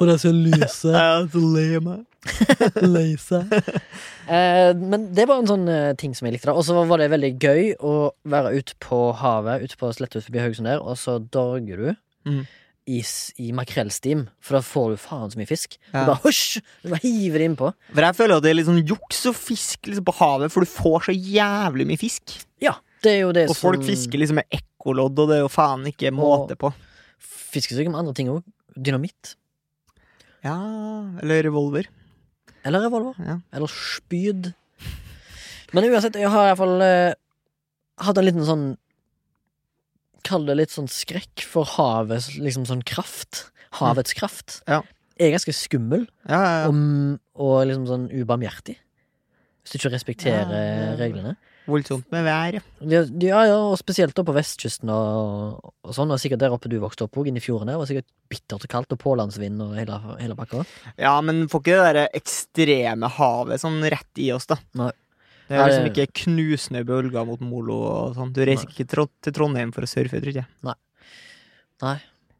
får jeg se lyset. Jeg er så lei meg. Lei seg. Eh, men det var en sånn eh, ting som jeg likte. da Og så var det veldig gøy å være ute på havet, ute på sletta ut forbi Haugesund der, og så dorger du Mhm. i, s- i makrellstim, for da får du faen så mye fisk. Ja. Du bare hysj! Du bare hiver det innpå. For jeg føler at det er litt sånn juks å fiske liksom, på havet, for du får så jævlig mye fisk. Ja, det er sånn- jo det Og folk fisker liksom med ekkolodd, og det er jo faen ikke måte på. Fisker sikkert med andre ting òg. Dynamitt. Ja, eller revolver. Eller revolver. Ja. Eller spyd. Men uansett, jeg har iallfall eh, hatt en liten sånn Kall det litt sånn skrekk for havets liksom sånn kraft. Havets kraft. Ja. Jeg er ganske skummel Ja, ja, og, og liksom sånn ubarmhjertig. Hvis du ikke respekterer Ja, ja. reglene. ja. Voldsomt med vær. ja. Ja, ja, ja, og spesielt da på vestkysten og, og sånn, og sikkert der oppe du vokste opp òg, inni fjorden der. Var sikkert bittert og kaldt, og pålandsvind og hele, hele pakka. Ja, men får ikke det derre ekstreme havet sånn rett i oss, da. Nei. Det er liksom Nei, ikke knusende bølger mot Molo og sånn. Du reiser ikke tro- til Trondheim for å surfe, tror jeg.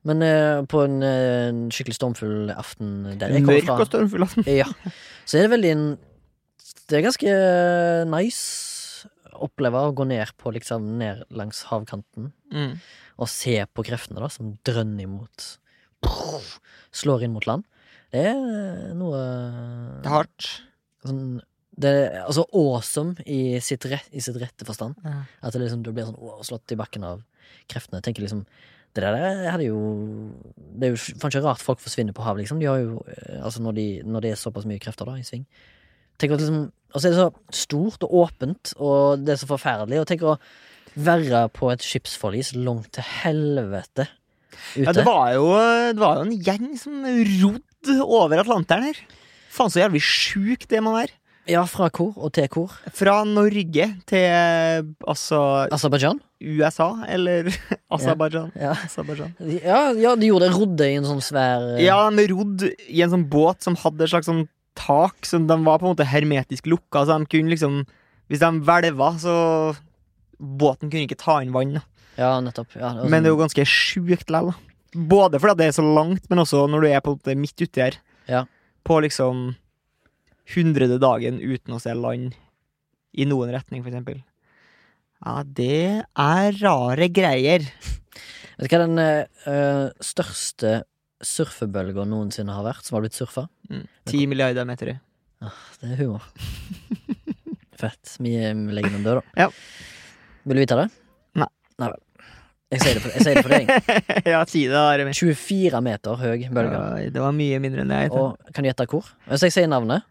Men eh, på en, eh, en skikkelig stormfull aften der jeg kommer Mørk og fra stormfull aften. ja, Så er det veldig en det er ganske eh, nice å oppleve å gå ned på liksom ned langs havkanten Mm. og se på kreftene da, som drønner imot. Slår inn mot land. Det er eh, noe Det er hardt. sånn, det er altså awesome i sitt, rett, i sitt rette forstand. Ja. At det liksom, du blir sånn «Åh», slått i bakken av kreftene. Jeg tenker liksom det der hadde jo Det er jo faen ikke rart folk forsvinner på havet, liksom. De har jo, eh, altså når, de, når det er såpass mye krefter da, i sving. Tenk å liksom Og så er det så stort og åpent, og det er så forferdelig. Og tenk å være på et skipsforlis langt til helvete ute. Ja, det var jo, det var jo en gjeng som rodde over Atlanteren her. Faen så jævlig sjukt det må være. Ja, fra kor og til kor. Fra Norge til altså Aserbajdsjan. USA, eller Aserbajdsjan. Ja. Aserbajdsjan. Ja, ja, de gjorde det. Rodde i en sånn svær eh, Ja, de rodde i en sånn båt som hadde et slags sånn tak, så de var på en måte hermetisk lukka, så de kunne liksom Hvis de hvelva, så Båten kunne ikke ta inn vann. da. ja nettopp. Ja, det var Men det er sånn- jo ganske sjukt likevel. da. Både fordi at det er så langt, men også når du er på en måte midt uti her. Ja. På liksom hundrede dagen uten å se land i noen retning, for eksempel. Ja, det er rare greier. Vet du hva den eh, største surfebølga noensinne har vært, som har blitt surfa? Ti milliarder meter. Det er humor. Fett. Vi eh, vi legger den død, da. Ja. Vil du vite det? Nei. Nei vel. Jeg sier det for, jeg sier det for deg. ja, ti det er det. 24 meter høy bølge. Ja, det var mye mindre enn det jeg tenkte. Og kan du gjette hvor? Hvis jeg sier navnet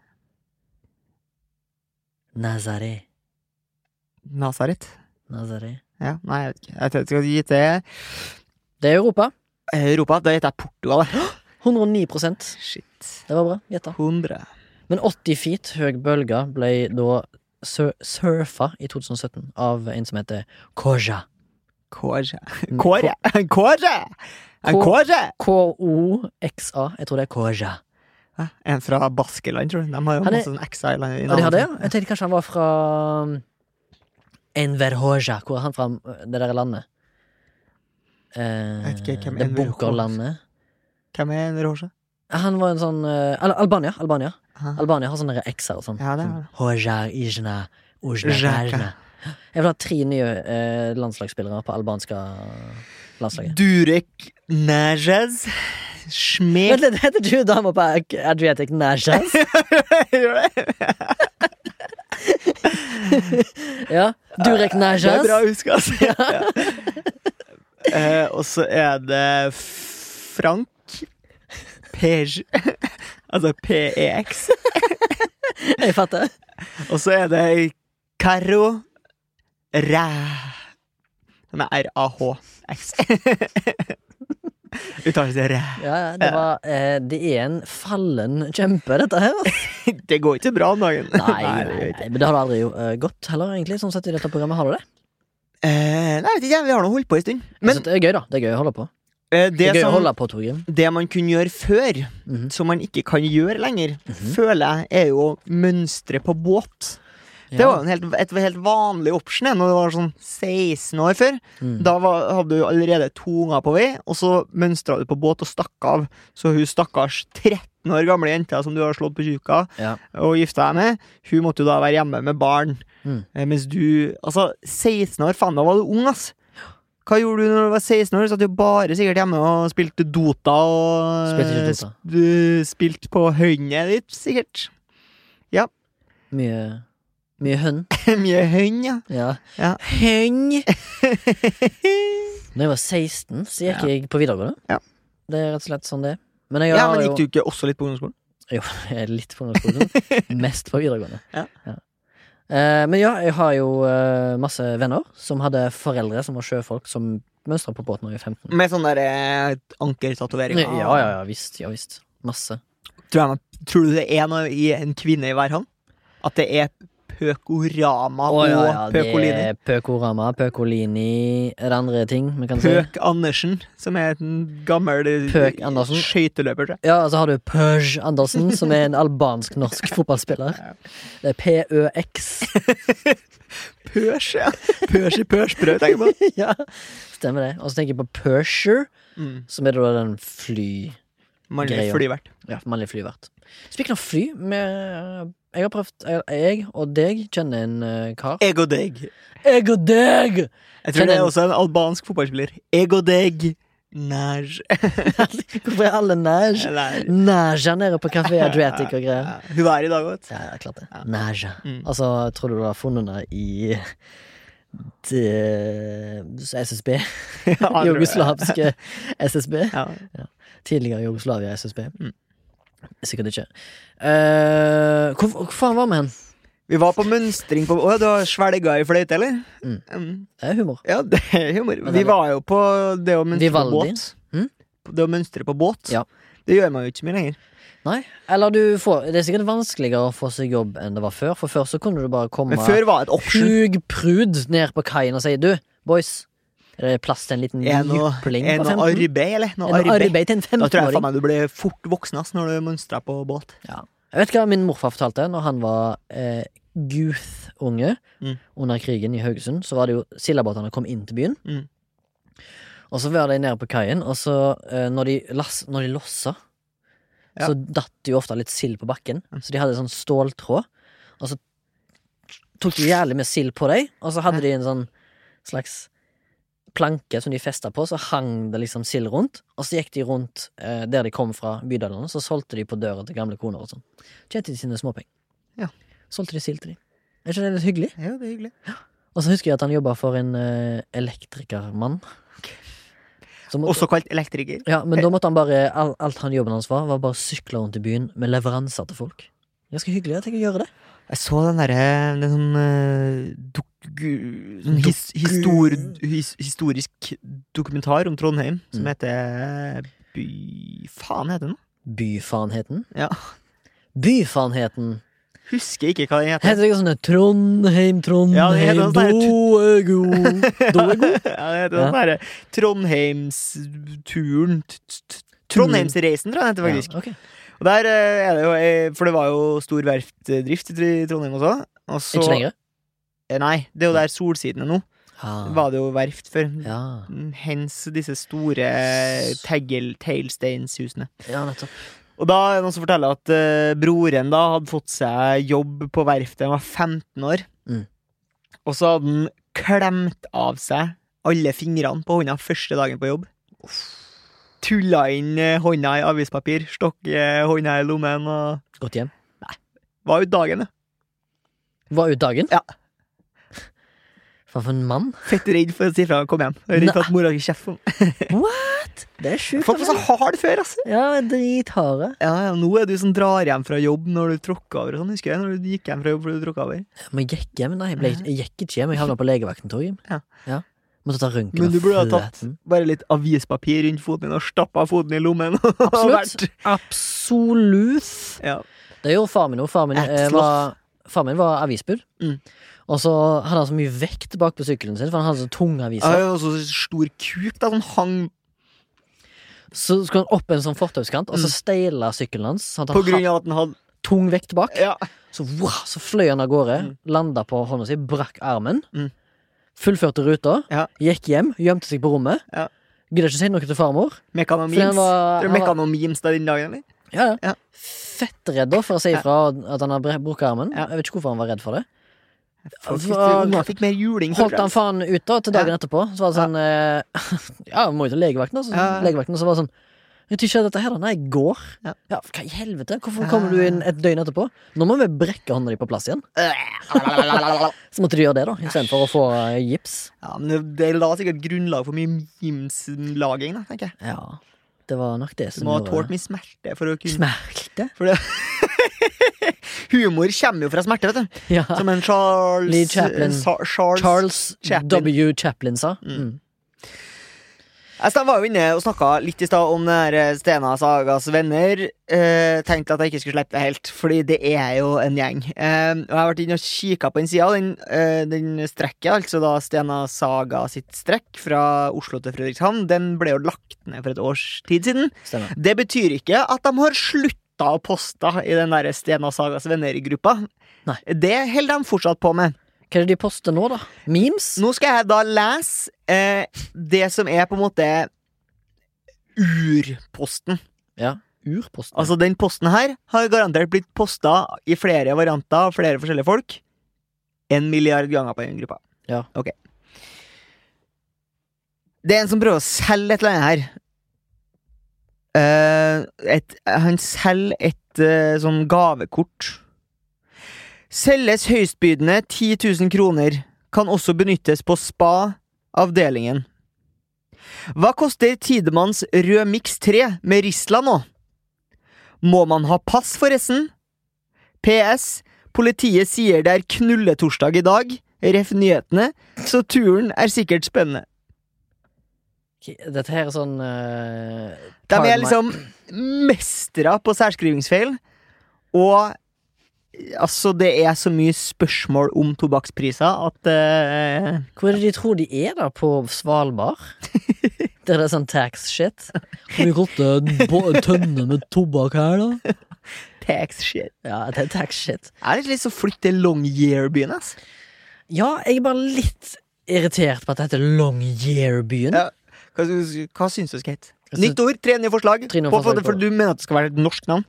Nazaré. Nazaret. Nazaré. Ja, nei, jeg vet ikke. Jeg tror jeg skal gi til Det er Europa. Europa. Da gjetter jeg Portugal. jeg. 109 Shit. Det var bra. Gjetta. 100. Men 80 feet høy bølge ble da sur surfa i 2017 av en som heter Koja. Kåre. Kåre! Kåre! En Kåre! K-O-X-A. Jeg tror det er Koja. Hæ? En fra Baskeland, tror du? De har jo Han er- masse sånn X-Island i Ja, de har det, navnet. ja. Jeg tenkte kanskje han var fra um, Enverhoja. Hvor er han fra, det der landet? Eh, Jeg vet ikke hvem det Enver Hoxha- bunkerlandet. Hvem er en Roja? Han var en sånn eh, Al Albania. Albania Aha. Albania har sånne x-er og sånn. Ja, det er Sånn, det. Hoxha, Ijna, Ujna, Ujaka. Kajna. Jeg vil ha tre nye eh, landslagsspillere på albanske landslaget. Durek Najez Schmek Vent litt, heter du dama på Adriatic Nashas? Gjør det? Ja. Durek Det er Nashas. bra huska, altså. Ja. Eh, og så er det Frank Pej Altså PEX. Jeg fatter. Og så er det Caro Ræ Som er R-A-H-X. Uttaler seg ræ. Ja, ja, det, var, eh, det er en fallen kjempe, dette her. altså. Det går ikke bra om dagen. Nei, Nei, det nei, gjør ikke. nei, men det har det aldri jo, eh, gått heller, egentlig. Sånn sett i dette programmet har du det. Eh, nei, jeg vet ikke, vi har nå holdt på en stund. Men, Men det er gøy, da. Det er gøy å holde på. eh, Altså, Det det, er gøy å som, holde på, Torgrim. det man kunne gjøre før, Mhm. som man ikke kan gjøre lenger, Mhm. føler jeg er jo å mønstre på båt. Det Ja. var jo en helt, et helt vanlig option jeg, når du var sånn 16 år før. Mm. Da var, hadde du allerede to unger på vei, og så mønstra du på båt og stakk av. Så hun stakkars 13 år gamle jenta som du har slått på tjuka Ja. og gifta deg med, hun måtte jo da være hjemme med barn. Mm. Eh, Mens du Altså, 16 år, faen, da var du ung, ass. Hva gjorde du når du var 16 år? Du Satt jo bare sikkert hjemme og spilte Dota og eh, Spilte ikke Dota. sp- du spilte på hønnet ditt, sikkert. Mye, mye hønn. Mye hønn, ja. Ja. Ja. Høng! Når jeg var 16, så gikk jeg på videregående. Ja. Det er rett og slett sånn det er. Men jeg ja. har Men jo gikk du ikke også litt på ungdomsskolen? Jo, jeg er litt på ungdomsskolen. Mest på videregående. Ja. Eh, men ja, jeg har jo eh, masse venner som hadde foreldre som var sjøfolk, som mønstra på båt når jeg var 15. Med sånn derre ankertatovering? Ja, ja, ja visst. Ja visst. Masse. Tror, jeg man- tror du det er noe i en kvinne i hver hånd? At det er pøkorama Å, ja, ja, og det pøkolini? er Pøkorama, Pøkolini Er det andre ting vi kan si? Pøk Andersen, som er en gammel eh, Pøk Andersen. skøyteløper, tror jeg. Ja, og så har du Pøj Andersen, som er en albansk-norsk fotballspiller. Det er PØX. Pøsj, ja. Pøsj i pøsjbrød, tenker jeg på. ja, stemmer det. Og så tenker jeg på Persher, Mm. som er da den fly... Mannlig Greia. flyvert. Ja, mannlig flyvert. Speaking of fly vi, eh, Jeg har prøvd Jeg, jeg og deg kjenner en eh, kar. Ego deg. Jeg og deg! Jeg tror det Kjenner- er også en albansk fotballspiller. Ego deg. Naj. Hvorfor er alle Naja Eller Naja nede på Café Adriatic og greier? ja. Hun er i dag, vet du. Ja, ja, klart det. Ja. Naja. Mm. Altså, tror du du har funnet henne i det, SSB? Ja, jeg tror det. Jugoslavske SSB? Ja. Tidligere Jugoslavia SSB? Mm. Sikkert ikke. Eh, hvor, hvor faen var vi hen? Vi var på mønstring på Å, du har svelga i fløyte, eller? Mm. Mm. Det er humor. Ja, det er humor. Men Vi det- var jo på det å mønstre på Vivaldi. båt. Mm? Det å mønstre på båt. Ja. Det gjør man jo ikke så mye lenger. Nei. Eller du får Det er sikkert vanskeligere å få seg jobb enn det var før, for før så kunne du bare komme Men før var et option. hugprud ned på kaien og si du, boys, er det plass til en liten Er noe, jypling er på noe 15? arbeid, eller? Noe Er det noe arbeid. arbeid til en Da tror jeg 15-åring? faen meg du blir fort voksen ass når du mønstrer på båt. Jeg vet hva min morfar fortalte Når han var eh, youth-unge Mm. under krigen i Haugesund. Så var det jo sildabåtene kom inn til byen. Mm. Og så var de nede på kaien, og så eh, når, de lass, når de lossa, Ja. Mm. så datt det jo ofte litt sild på bakken. Så de hadde sånn ståltråd, og så tok de jævlig med sild på dem, og så hadde de en sånn slags planke som de festa på, så hang det liksom sild rundt. Og så gikk de rundt eh, der de kom fra, bydalene, så solgte de på døra til gamle koner og sånn. Tjente de sine småpenger. Ja. Solgte de sild til de. Er ikke det litt hyggelig? Ja, det er hyggelig. Og så husker jeg at han jobba for en eh, elektrikermann. Så måtte- Også kalt elektriker. ja, men da måtte han bare all, Alt han jobben hans var, var bare å sykle rundt i byen med leveranser til folk. Ganske hyggelig. Jeg tenker å gjøre det. Jeg så den derre Den sånn eh, dok, gu- sånn his, histor, his, historisk dokumentar om Trondheim som Mm. heter By... Faen heter den? Byfanheten. Ja. Byfanheten. Husker ikke hva den heter. Heter det ikke sånn Trondheim, Ja, det Trondheim, heter noe da sånn her er god Da er god ja, det heter den derre Trondheimsturen t- t- Trondheimsreisen, tror jeg den heter faktisk. Ja, ok. Og der eh, er det jo eh, For det var jo stor verftdrift i Trondheim også. Og så, Ikke lenger? Eh, Nei, det er jo der solsiden er nå. Ah, Var det jo verft før. ja. Hens disse store tegel, teglsteinshusene. ja, nettopp. Og da er det noen som forteller at eh, broren da hadde fått seg jobb på verftet. Han var 15 år. Mm. Og så hadde han klemt av seg alle fingrene på hånda første dagen på jobb. Tulla inn eh, hånda i avispapir, stokke eh, hånda i lommen og Godt hjem. Var ut dagen, da. Var ut dagen? Ja. Faen, for en mann. Fett redd for å si fra og komme hjem. Redd for at mora skulle kjefte på ham. Det er sjukt. Folk var så harde før, altså. Ja, dritharde. Ja, ja, nå er du som drar hjem fra jobb når du tråkker over og sånn, husker jeg. Når du gikk hjem fra jobb fordi du tråkka over. Men jeg gikk hjem? Nei, jeg, ble, jeg gikk ikke hjem. Jeg havna på legevakten, tror jeg. Ja. Måtte ta røntgen. av Men du burde ha tatt føtten. bare litt avispapir rundt foten din og stappa foten i lommen. og Absolutt. vært- Absolutt. Ja. Det gjorde far min òg. Faren min, eh, Et var- faren min var avisbud. Mm. Og så hadde han så mye vekt bak på sykkelen sin, for han hadde så tunge Jeg har aviser. jo også stor kuk da, som hang Så skulle han opp en sånn fortauskant, og så steila sykkelen hans. Sånn at på han grunn av at den hadde hadde tung vekt bak. ja. Så, wow, så fløy han av gårde, Mm. landa på hånda si, brakk armen. Mm. Fullførte ruta, Ja. gikk hjem, gjemte seg på rommet. Ja. Gidda ikke si noe til farmor. Mekanomims. Fordi han var- Tror han du var- Mekanomims da den dagen, eller? Ja, ja. Ja. Fettredd da for å si Ja. ifra at han har bre- brukket armen. Ja. Jeg vet ikke hvorfor han var redd for det. Folk Altså, fikk, ungene fikk mer juling. Holdt han faen tror jeg. ut da til dagen Ja. etterpå. Så var det sånn eh, Ja, vi må jo til legevakten, da. Så, Ja, ja. legevakten, så var det sånn jeg vet ikke hva dette her, da. Nei, jeg går. Ja. Ja, hva i helvete? Hvorfor Ja. kommer du inn et døgn etterpå? Nå må vi brekke hånda di på plass igjen. Så måtte de gjøre det, da, istedenfor å få eh, gips. Ja, men Det la sikkert grunnlag for mye mimslaging, da, tenker jeg. Ja, det var nok det Du som må ha gjorde tålt det. mye smerte for å kunne Smerte? Humor kommer jo fra smerte, vet du. Ja. Som en Charles eh, Lee Chaplin. Sa Charles. Charles Chaplin. W. Chaplin sa. Mm. Mm. Altså, Jeg var jo inne og snakka litt i stad om den her eh, Stena Sagas venner. Eh, tenkte at jeg ikke skulle slippe det helt, fordi det er jo en gjeng. Eh, og jeg har vært inne og kikka på den sida, den, eh, den strekket, altså da Stena Saga sitt strekk fra Oslo til Fredrikshavn, den ble jo lagt ned for et års tid siden. Stemmer. Det betyr ikke at de har slutta å poste i den der Stena Sagas venner-gruppa. Nei. Det holder de fortsatt på med. Hva er det de poster nå, da? Memes? Nå skal jeg da lese eh, det som er på en måte urposten. Ja. urposten. Altså, den posten her har garantert blitt posta i flere varianter av flere forskjellige folk. En milliard ganger på den gruppa. Ja. Ok. Det er en som prøver å selge et eller annet her. Eh, et, han selger et eh, sånn gavekort. Selges høystbydende 10 000 kroner. Kan også benyttes på spa-avdelingen. Hva koster Tidemanns Rød Mix 3 med Risla nå? Må man ha pass, forresten? PS. Politiet sier det er knulletorsdag i dag, ref. nyhetene, så turen er sikkert spennende. Dette her er sånn eh, De Pardon er meg. liksom mestere på særskrivingsfeil, og altså, det er så mye spørsmål om tobakkspriser at eh, Hvor er det de tror de er, da? På Svalbard? Der det er sånn tax-shit? Hvor mye koster en bo- en tønne med tobakk her, da? Tax shit. Ja, det er tax-shit. Jeg har litt lyst til å flytte til Longyearbyen, ass. Ja, jeg er bare litt irritert på at det heter Longyearbyen. Ja. Hva, hva syns du skal hete? Jeg syns- Nytt ord, tre nye forslag. Altså, Tre nye På- forslag for, på for du mener at det skal være et norsk navn?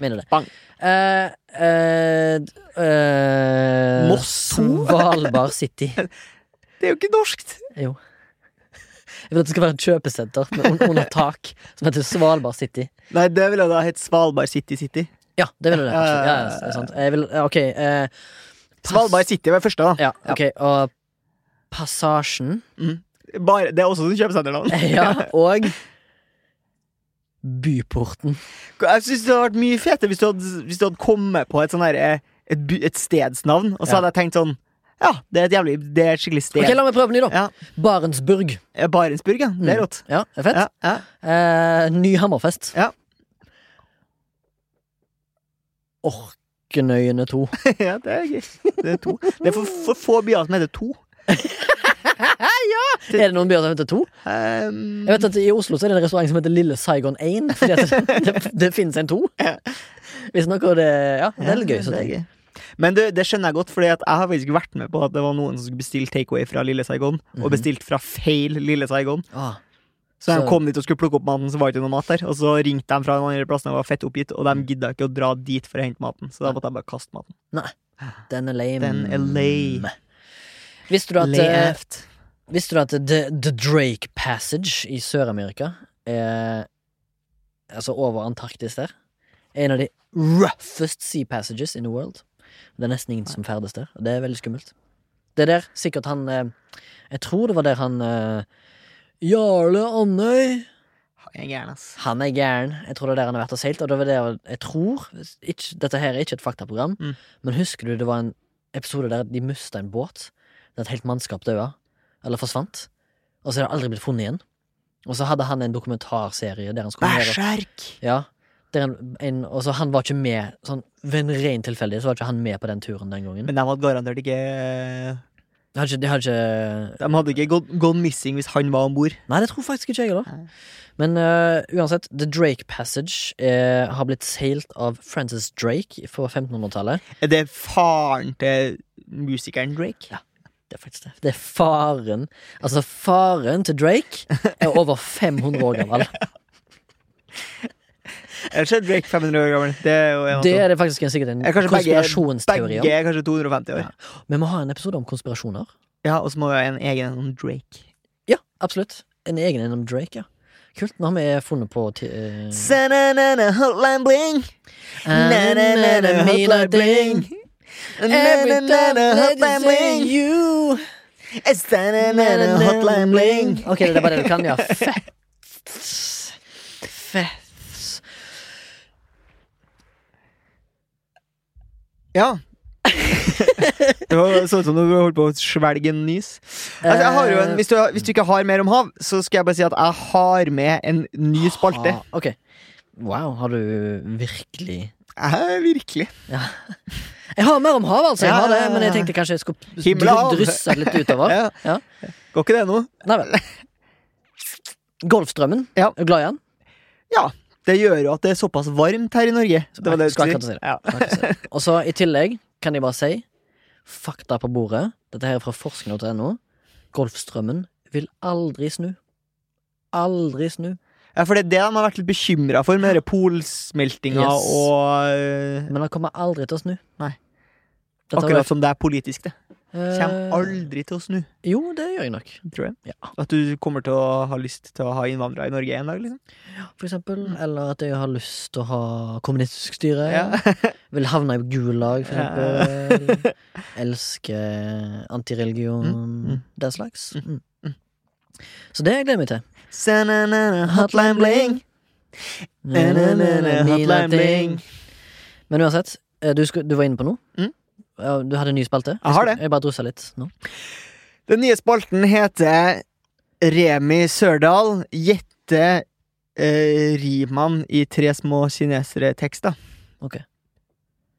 Mener det. Bang. Eh, eh, eh, Moss to? Svalbard City. Det er jo ikke norskt! Jo. Jeg vil at det skal være et kjøpesenter med un under tak som heter Svalbard City. Nei, det ville da hett Svalbard City City. Ja, det vil jeg det. Ja, absolutt. ja, Ja, ja, ja, sant. Jeg vil, ja, ok. eh, pass- Svalbard City var første, da. Ja, ok, og Passasjen. Bare, det er også sånn kjøpesenternavn. Ja, og Byporten. Jeg syns det hadde vært mye fetere hvis du hadde, hvis du hadde kommet på et sånn derre et, by- et stedsnavn, og så Ja. hadde jeg tenkt sånn Ja, det er et jævlig Det er et skikkelig sted. Ok, La meg prøve en ny, da. Ja. Barentsburg. Eh, Barentsburg, ja. Det er rått. Ja, det er fett. Ja, ja. Eh, ny Hammerfest. Ja. Orkenøyene 2. ja, det er gøy. Det er to. Det er for, for få byer som heter to. Er det noen byer som heter 2? Um, Jeg vet at I Oslo så er det en restaurant som heter Lille Saigon 1. Fordi at det, det finnes en 2. Hvis noe, og det, ja, det er litt gøy. Ja, Så det er ting. gøy. Men du, det skjønner jeg godt, Fordi at jeg har faktisk vært med på at det var noen som skulle bestille takeaway fra Lille Saigon, Mhm. og bestilt fra feil Lille Saigon. Ah, Så de Så- kom dit og skulle plukke opp maten, så var det ikke noe mat der. Og så ringte de fra den andre plassen og var fett oppgitt, og Mm. de gidda ikke å dra dit for å hente maten, så da måtte de bare kaste maten. den er lame. Den er lame. Visste du at, eh, Left. visste du at the, the Drake Passage i Sør-Amerika er Altså over Antarktis der. Er en av de roughest sea passages in the world. Det er nesten ingen som ferdes der. Og det er veldig skummelt. Det er der sikkert han eh, Jeg tror det var der han eh, Jarle Andøy Jeg er gæren, ass. Han er gæren. Jeg tror det er der han har vært og seilt. Og det var der, jeg tror, ikke, dette her er ikke et faktaprogram, Mm. men husker du det var en episode der de mista en båt? Der et helt mannskap daua. Eller forsvant. Og så er det aldri blitt funnet igjen. Og så hadde han en dokumentarserie der han skulle ned og- Berserk! ja. Der en, en, og så han var ikke med sånn, Ved en ren tilfeldighet så var ikke han med på den turen den gangen. Men de hadde garantert ikke eh, De hadde ikke, de hadde ikke De hadde ikke gått, gone missing hvis han var om bord. Nei, det tror faktisk ikke jeg heller. Nei. Men øh, uansett, The Drake Passage eh, har blitt seilt av Francis Drake på 1500-tallet. Er det faren til musikeren Drake? Det er faktisk det. Det er faren Altså, faren til Drake er over 500 år gammel. Ellers er Drake 500 år gammel. Det er jo en av Det to. er det faktisk en, sikkert en Eh, kanskje begge- konspirasjonsteori om. Begge er kanskje 250 år. Ja. Vi må ha en episode om konspirasjoner. Ja, og så må vi ha en egen om Drake. Ja, absolutt. En egen en om Drake, ja. Kult. Nå har vi funnet på ti- eh, Sa-na-na-na, hotline bling. Na-na-na-na, Mina hotline bling. Ding. Na-na-na-na, hotline bling. you. Sa-na-na-na, hotline bling. Ok, det er bare det du kan, ja. Fets. Fets. Ja. det var sånn som du holdt på å svelge en nys. Altså, jeg har jo Eh. en, hvis, du, hvis du ikke har mer om hav, så skal jeg bare si at jeg har med en ny spalte. Ah, ok. Wow, har du virkelig Jeg, virkelig. Jeg har mer om havet, altså. Jeg har Ja, ja, det, ja, men jeg ja. tenkte kanskje jeg skulle Himmel og hav. dry- drysse det litt utover. Ja. Ja. Går ikke det nå? Nei vel. Golfstrømmen. Ja. Er du glad i den? Det gjør jo at det er såpass varmt her i Norge. Det var det du Skal skulle akkurat si det. Ja. Og så i tillegg kan jeg bare si fakta på bordet. Dette her er fra forskning.no. Golfstrømmen vil aldri snu. Aldri snu. Ja, for det er det de har vært litt bekymra for, med denne polsmeltinga Yes. og eh, Men han kommer aldri til å snu. Nei. Dette har Akkurat vært- som det er politisk, det. Eh, Kommer aldri til å snu, Jo, det gjør jeg nok. tror jeg. Ja. At du kommer til å ha lyst til å ha innvandrere i Norge en dag, liksom. For eksempel. Eller at jeg har lyst til å ha kommunistisk styre. Mm. Ja. Vil havne i gulag, for Ja. eksempel. Elsker antireligion. mm. Den slags. Mm. Så det gleder jeg meg til. Sa-na-na-na, Hotline bling! Na-na-na-na, Hotline bling! Men uansett, eh, du, sku- du var inne på noe? Mm. Ja, Du hadde en ny spalte? Jeg har det. Jeg bare drussa litt nå. Den nye spalten heter Remi Sørdal gjette eh, rimene i Tre små kinesere-tekster. Ok.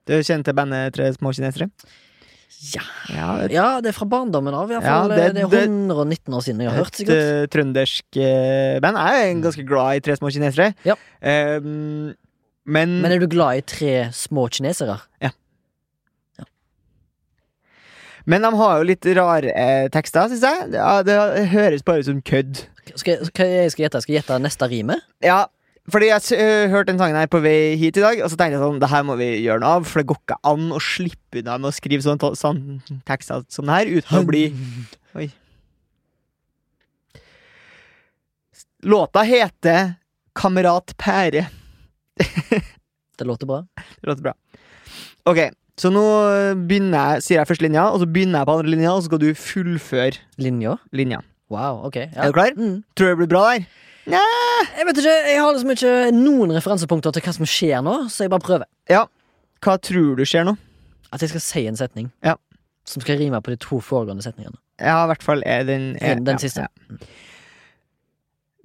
Du kjenner til bandet Tre små kinesere? Ja. Ja, et, ja, det er fra barndommen av, i hvert Ja, fall. det- det, det- er 119 år siden jeg har hørt, et sikkert. eh, trøndersk eh, band. Jeg er ganske glad i Tre små kinesere. Ja. Eh, men, Men er du glad i tre små kinesere? men de har jo litt rare eh, tekster, syns jeg. Det, det høres bare ut som kødd. Skal jeg, skal jeg, skal jeg gjette? Skal jeg gjette neste rime? Ja, fordi jeg s- øh, hørte den sangen her på vei hit i dag, og så tenkte jeg sånn, det her må vi gjøre noe av, for det går ikke an å slippe unna med å skrive sånn, to- sånn tekst alt som det her, uten å bli Oi. Hmm. Låta heter Kamerat Pære. Det låter bra. Det låter bra. Ok, så nå øh, begynner jeg, sier jeg første linja, og så begynner jeg på andre linja, og så skal du fullføre Linja? linja. Wow, ok. ja. Er du klar? Mm. Tror du det blir bra der? Jeg vet ikke, jeg har liksom ikke noen referansepunkter til hva som skjer nå, så jeg bare prøver. Hva tror du skjer nå? At jeg skal si en setning Ja. som skal rime på de to foregående setningene. Ja, i hvert fall er den er- Den, ja, den siste.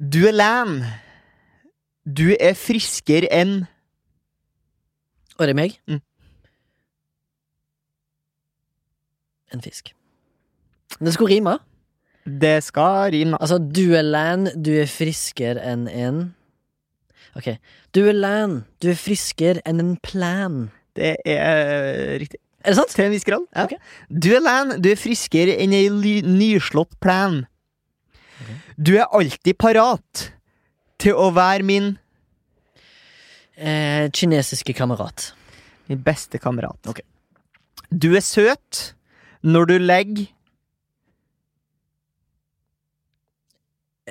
Du er lam. Du er friskere enn Og det er meg. Mm. En fisk. Men Det skulle rime. Det skal rime. Altså, du er land, du er friskere enn en Ok. Du er land, du er friskere enn en plan. Det er eh, riktig. Er det sant? Til en viss grad. Ja. Ok. Du er lam. Du er friskere enn ei ly- nyslått plan. Du er alltid parat til å være min Eh, kinesiske kamerat. Min beste kamerat. Ok. Du er søt når du legger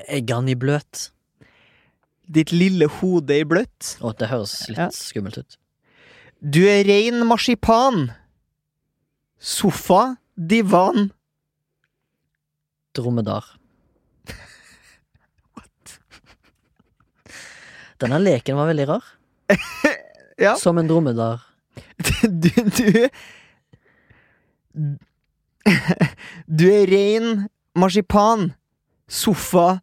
Eggene i Eh, bløt. ditt lille hode i bløtt. Å, det høres litt Ja. skummelt ut. Du er rein marsipan. Sofa, divan Dromedar. Denne leken var veldig rar. Ja. Som en dromedar. Du, du Du er rein marsipan, sofa,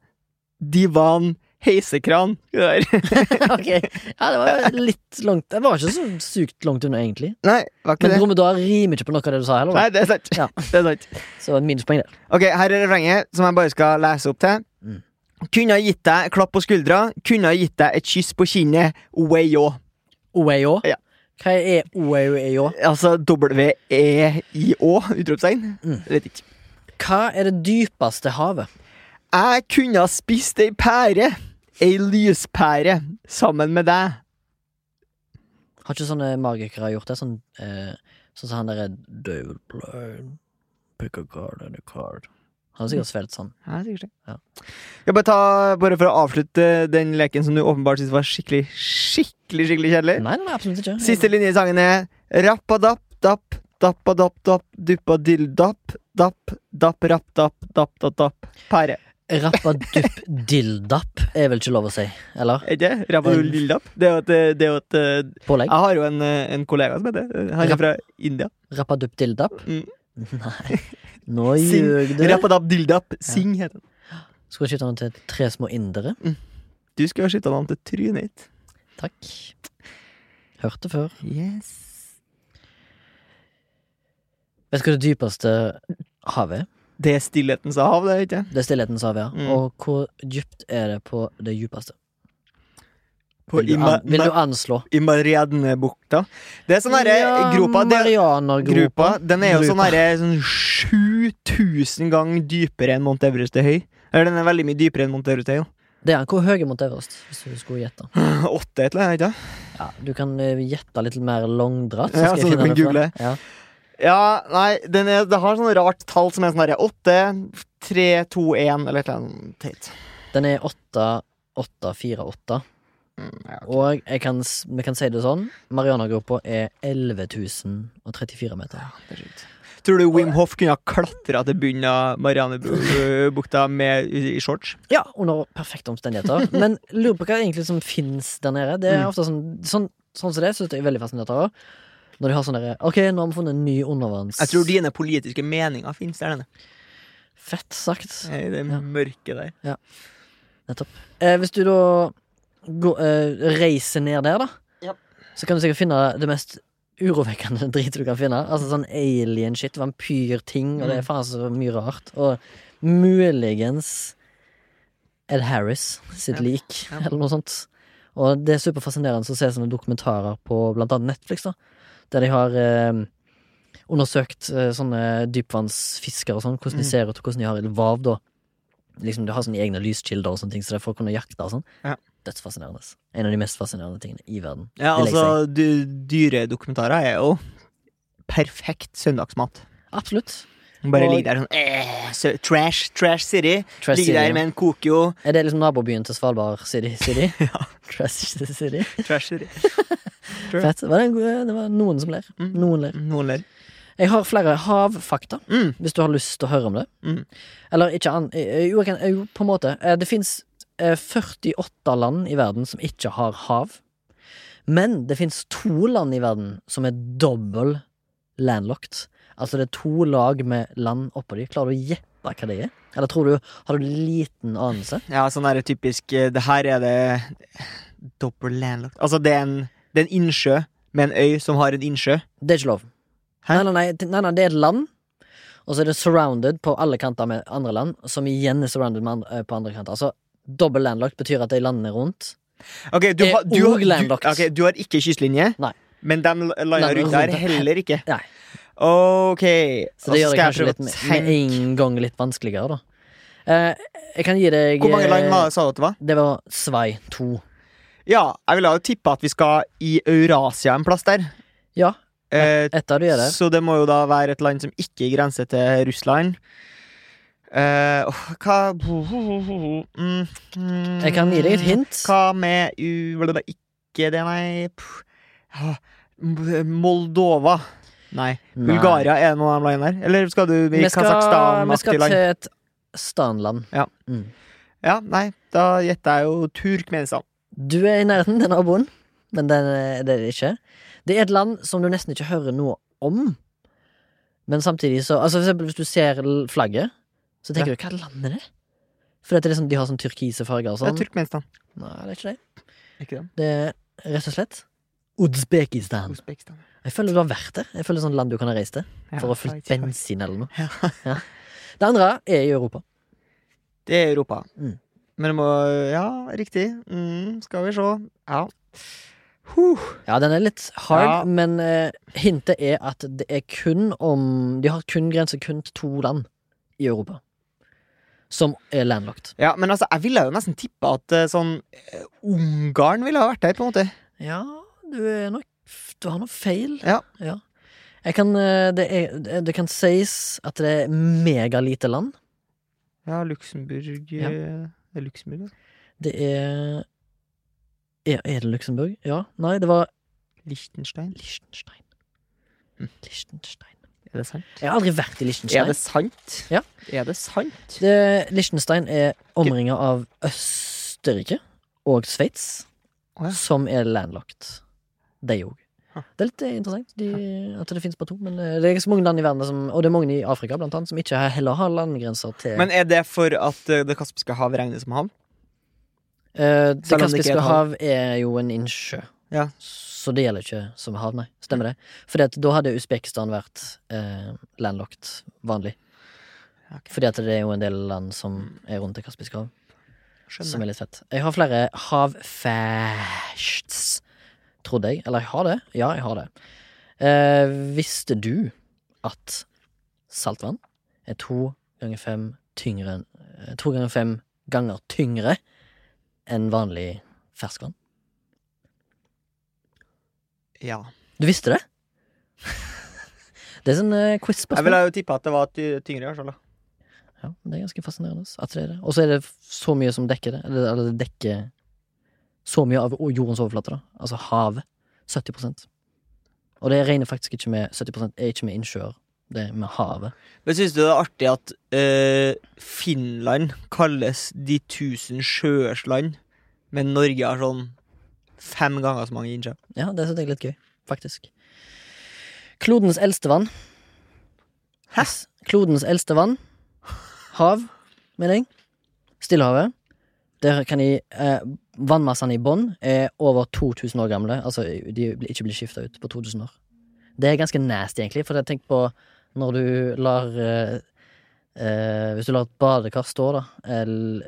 divan, heisekran. Det der. ok, ja, det var litt langt Det var ikke så sykt langt unna, egentlig. Nei, var ikke Men det. dromedar rimer ikke på noe av det du sa heller. Nei, da. det er sant. Ja. Det er sant. Så en minuspoeng der. Ok, her er refrenget, som jeg bare skal lese opp til. Mm. Kunne ha gitt deg klapp på skuldra, kunne ha gitt deg et kyss på kinnet. Wayo. OAO? Ja. Hva er OAO? Altså W-E-I-Å, utropstegn. Mm. Vet ikke. Hva er det dypeste havet? Jeg kunne ha spist ei pære, ei lyspære, sammen med deg. Har ikke sånne magikere gjort det? Sånn eh, sånn som han derre David Blaine, pick a card and a card. Han har sikkert svelget sånn. Ja, sikkert det. Ja. Jeg bare, ta, bare for å avslutte den leken som du åpenbart syntes var skikkelig, skikkelig skikkelig kjedelig. Nei, nei, absolutt ikke. Siste linje i sangen er rappadapp, dapp, dappadapp, dapp, duppa dilldapp, dapp, dapp, rapp, dapp, dapp, dapp, dapp. Pære. Rappadupp dilldapp er vel ikke lov å si? Eller? Er det det? Rappadilldapp? Det er jo et, det er jo et Jeg Pålegg? har jo en, en kollega som heter det. Han Rapp- er fra India. Rappadupp dilldapp? Mm. Nei, nå Sing. ljug du. Rappadapp dilldapp, sing heter han. Skulle skifte den til tre små indere. Du skulle ha skifta navn til Trynet ditt. Takk. Hørte før. Yes. Vet du hva det dypeste havet er? Det er stillhetens hav, det, ikke sant? Det er stillhetens hav, ja. Mm. Og hvor dypt er det på det dypeste? På Vil du, Ima- an, vil du anslå? I Mariadnebukta. Det er sånn herre Ja, gropa, det, Marianergropa. gropa Den er jo sånn Gropa. herre sånn 7000 ganger dypere enn Mount Everest er høy. Eller den er veldig mye dypere enn Mount Everest er, jo. Det er Hvor høye mot Everest, hvis du skulle gjette? Åtte et eller annet, ikke Ja, du kan eh, gjette litt mer langdratt. Ja, skal jeg så du finne det kan fram. google. Ja. Ja, nei, den er, det har sånn rart tall som er sånn herre åtte, tre, to, én, eller et eller annet teit. Den er 8848. Mm, Og jeg kan, s- vi kan si det sånn, Marianagropa er 11.034 meter. Tror du Wim Hoff kunne ha klatra til bunnen av Marianebukta med i i shorts? Ja, under perfekte omstendigheter. Men lurer på hva egentlig som finnes der nede. Det er Mm. ofte sånn, sånn, sånn som det, syns jeg er veldig fascinert av. Når de har sånn derre Ok, nå har vi funnet en ny undervanns... Jeg tror dine politiske meninger finnes der nede. Fett sagt. I det Ja. mørket der. Eh, hvis du da går, eh, reiser ned der, da, Ja. så kan du sikkert finne det mest urovekkende dritet du kan finne. Altså sånn alien-shit, vampyrting, og Mm. det er faen så mye rart. Og muligens Ed Harris sitt Ja. lik, Ja. eller noe sånt. Og det er superfascinerende å se sånne dokumentarer på blant annet Netflix, da. Der de har eh, undersøkt eh, sånne dypvannsfiskere og sånn, hvordan de Mm. ser ut, og hvordan de har vav, da. Liksom, de har sånne egne lyskilder og sånne ting, så det er for å kunne jakte og sånn. Ja. Dødsfascinerende. En av de mest fascinerende tingene i verden. Ja, vil jeg altså, du, dyredokumentarer er jo perfekt søndagsmat. Absolutt. Bare Og- ligge der sånn eh, sø, Trash, trash city. Trash ligge City, der ja. med en kokio. Er det liksom nabobyen til Svalbard City? City? ja. Trash City? Trash city. Ja. Fett. Var det, en god, det var noen som ler. Mm. Noen ler. Noen ler. Jeg har flere havfakta, Mm. hvis du har lyst til å høre om det. Mm. Eller ikke an... eh, Jo, jeg kan, eh, jo, på en måte. Eh, Det fins 48 land i verden som ikke har hav. Men det fins to land i verden som er dobbel landlocked. Altså det er to lag med land oppå de. Klarer du å gjette hva det er? Eller tror du, har du liten anelse? Ja, sånn er det typisk eh, Det her er det dobbel landlocked Altså, det er en, det er en innsjø med en øy som har en innsjø. Det er ikke lov. Hæ? Nei, nei, nei, t- nei, nei, det er et land. Og så er det surrounded på alle kanter med andre land, som igjen er surrounded med andre, på andre kanter. Altså, Dobbel landlocked betyr at de landene rundt Ok, du, Det er har- du, har- og landlocked. Du, ok, du har ikke kystlinje, Nei. men de landa Landene rundt der rundt. heller ikke. Nei. Ok. altså, Så det gjør det kanskje litt, å med, med tenke en gang litt vanskeligere, da. Eh, jeg kan gi deg Hvor mange land eh, var det, sa du at det var? Det var Svai 2. Ja, jeg ville jo tippa at vi skal i Eurasia en plass der. Ja, Eh, etter du gjør det. så det må jo da være et land som ikke grenser til Russland. Eh, åh, hva mm, mm, Jeg kan gi deg et hint. Hva med u... Var det da ikke det, nei Puh. Ah, M- Moldova. Nei. Nei. Bulgaria er noen av de landene der? Eller skal du i Vi skal, vi Kasakhstan-aktig skal til land? et stanland. Ja. Mm. Ja, nei, da gjetter jeg jo Turkmenistan. Du er i nærheten, den naboen, men den, er- det er det ikke. Det er et land som du nesten ikke hører noe om. Men samtidig så Altså For eksempel hvis du ser l- flagget, så tenker du 'hva land er det?' For det er liksom, de har sånn turkise farger og Det sånn. er Turkmenistan. Nei, det er ikke det. Ikke det? Det er rett og slett Uzbekistan. Usbekistan. Jeg føler du har vært der. Jeg føler sånn land du kan ha reist til Ja, for å fylle jeg vet ikke. bensin eller noe. Ja. Ja. Det andre er i Europa. Det er Europa. Mm. Men det må Ja, riktig. Mm, skal vi se. Ja. Huh. Ja, den er litt hard, Ja. men eh, hintet er at det er kun om De har kun grenser kun til to land i Europa som er landlocked. Ja, men altså, jeg ville jo nesten tippa at eh, sånn eh, Ungarn ville ha vært der, på en måte. Ja, du er nok Du har noe feil. Ja. Jeg kan, eh, det, er, det kan sies at det er megalite land. Ja, Luxembourg Ja. eh, Det er Luxembourg, ja. Det er Er, er det Luxembourg? Ja. Nei, det var Liechtenstein. Liechtenstein. Mm. Liechtenstein. Er det sant? Jeg har aldri vært i Er Liechtenstein. det sant? Ja. Er det sant? Det, Liechtenstein er omringa av Østerrike og Sveits, Å ja. som er landlocked. De òg. Huh. Det er litt eh, interessant de, at det finnes bare to. Men eh, det er ikke så mange land i verden som, og det er mange i Afrika blant annet, som ikke har- heller har landgrenser til Men er det for at eh, Det kaspiske hav regnes som havn? Eh, Det Selv om det ikke er kaspiske et hav. hav er jo en innsjø, Ja. så det gjelder ikke som hav, nei. Stemmer det? Fordi at da hadde Usbekistan vært eh, landlocked vanlig. Ok. Fordi at det er jo en del land som er rundt det kaspiske hav. Som Skjønner. er litt fett. Jeg har flere havfests, trodde jeg. Eller jeg har det. Ja, jeg har det. Eh, visste du at saltvann er to ganger fem tyngre enn eh, To ganger fem ganger tyngre enn vanlig ferskvann. Ja. Du visste det? Det er sånn eh, Jeg quiz-spørsmål. ville jo tippa at det var ty- tyngre. i hvert fall, da. Ja, det er ganske fascinerende. ass, At det er det. Og så er det f- så mye som dekker det. Eller, eller det dekker så mye av o- jordens overflate. da Altså havet. 70 Og det regner faktisk ikke med 70 er ikke med innsjøer. Det er med havet. Men syns du det er artig at eh, Finland kalles de tusen sjøers land, men Norge har sånn fem ganger så mange innsjøer? Ja, det synes jeg er litt gøy, faktisk. Klodens eldste vann. Hæ? Klodens eldste vann. Hav, mener jeg. Stillehavet. Der kan de eh, Vannmassene i bånn er over 2000 år gamle. Altså, de blir ikke blir skifta ut på 2000 år. Det er ganske nasty, egentlig, for jeg tenker på når du lar eh, eh, Hvis du lar et badekar stå, da, eller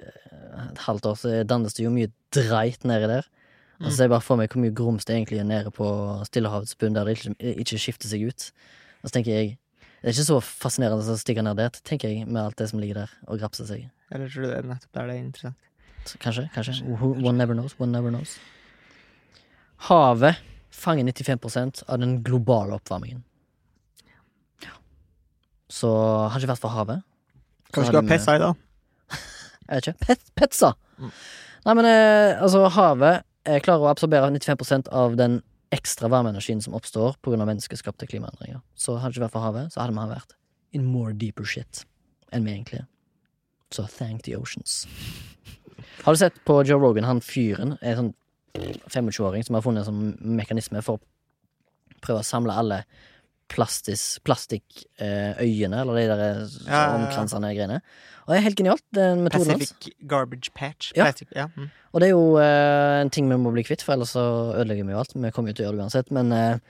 et halvt år, så dannes det jo mye dreit nedi der. Og så ser Altså, jeg bare for meg hvor mye grums det egentlig er nede på Stillehavets bunn, der det ikke, ikke skifter seg ut. Og så tenker jeg Det er ikke så fascinerende å stikke ned dit, tenker jeg, med alt det som ligger der og grapser seg. Eller tror du det er nettopp der det er interessant? Så kanskje, kanskje. Who- One never knows, one never knows. Havet fanger 95 av den globale oppvarmingen. Så hadde det ikke vært for havet så Kanskje hadde du har vi- pessa i, da? Jeg vet ikke. Pet, petsa! Mm. Nei, men eh, altså, havet eh, klarer å absorbere 95 av den ekstra varmeenergien som oppstår pga. menneskeskapte klimaendringer. Så hadde det ikke vært for havet, så hadde vi vært in more deeper shit enn vi egentlig er. Så thank the oceans. Har du sett på Joe Rogan, han fyren, en sånn 25-åring som har funnet en sånn mekanisme for å prøve å samle alle plastis- plastikkøyene, øyene eller de der eh, Ja, ja, ja. omkransende greiene. Og det er helt genialt, den metoden hans. Pacific Garbage Patch. Ja. Plastic, ja. Mm. Og det er jo eh, en ting vi må bli kvitt, for ellers så ødelegger vi jo alt. Vi kommer jo til å gjøre det uansett, men eh,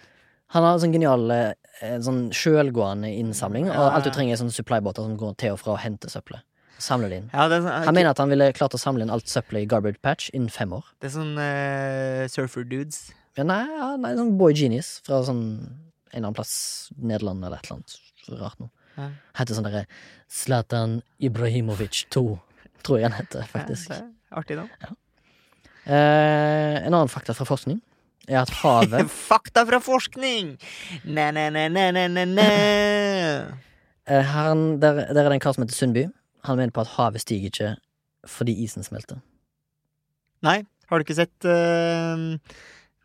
han har en sånn genial eh, en sånn sjølgående innsamling, Ja, og ja, alt du ja. trenger er sånne supplybåter som går til og fra og henter søppelet. Samler det inn. ja, det er sånn, Han mener at han ville klart å samle inn alt søppelet i Garbage Patch innen fem år. det er sånn eh, surfer dudes. Ja, nei, ja, nei, sånn Boy Genius fra sånn en eller annen plass, Nederland eller et eller annet. Så Rart noe. Ja. Heter sånn derre Zlatan Ibrahimovic 2, tror jeg han heter, faktisk. Ja, det er artig, da. Eh, en annen fakta fra forskning er at havet Fakta fra forskning! Næ-næ-næ-næ-næ-næ. Eh, Han, der, der er det en kar som heter Sundby. Han mener på at havet stiger ikke fordi isen smelter. Nei, har du ikke sett eh,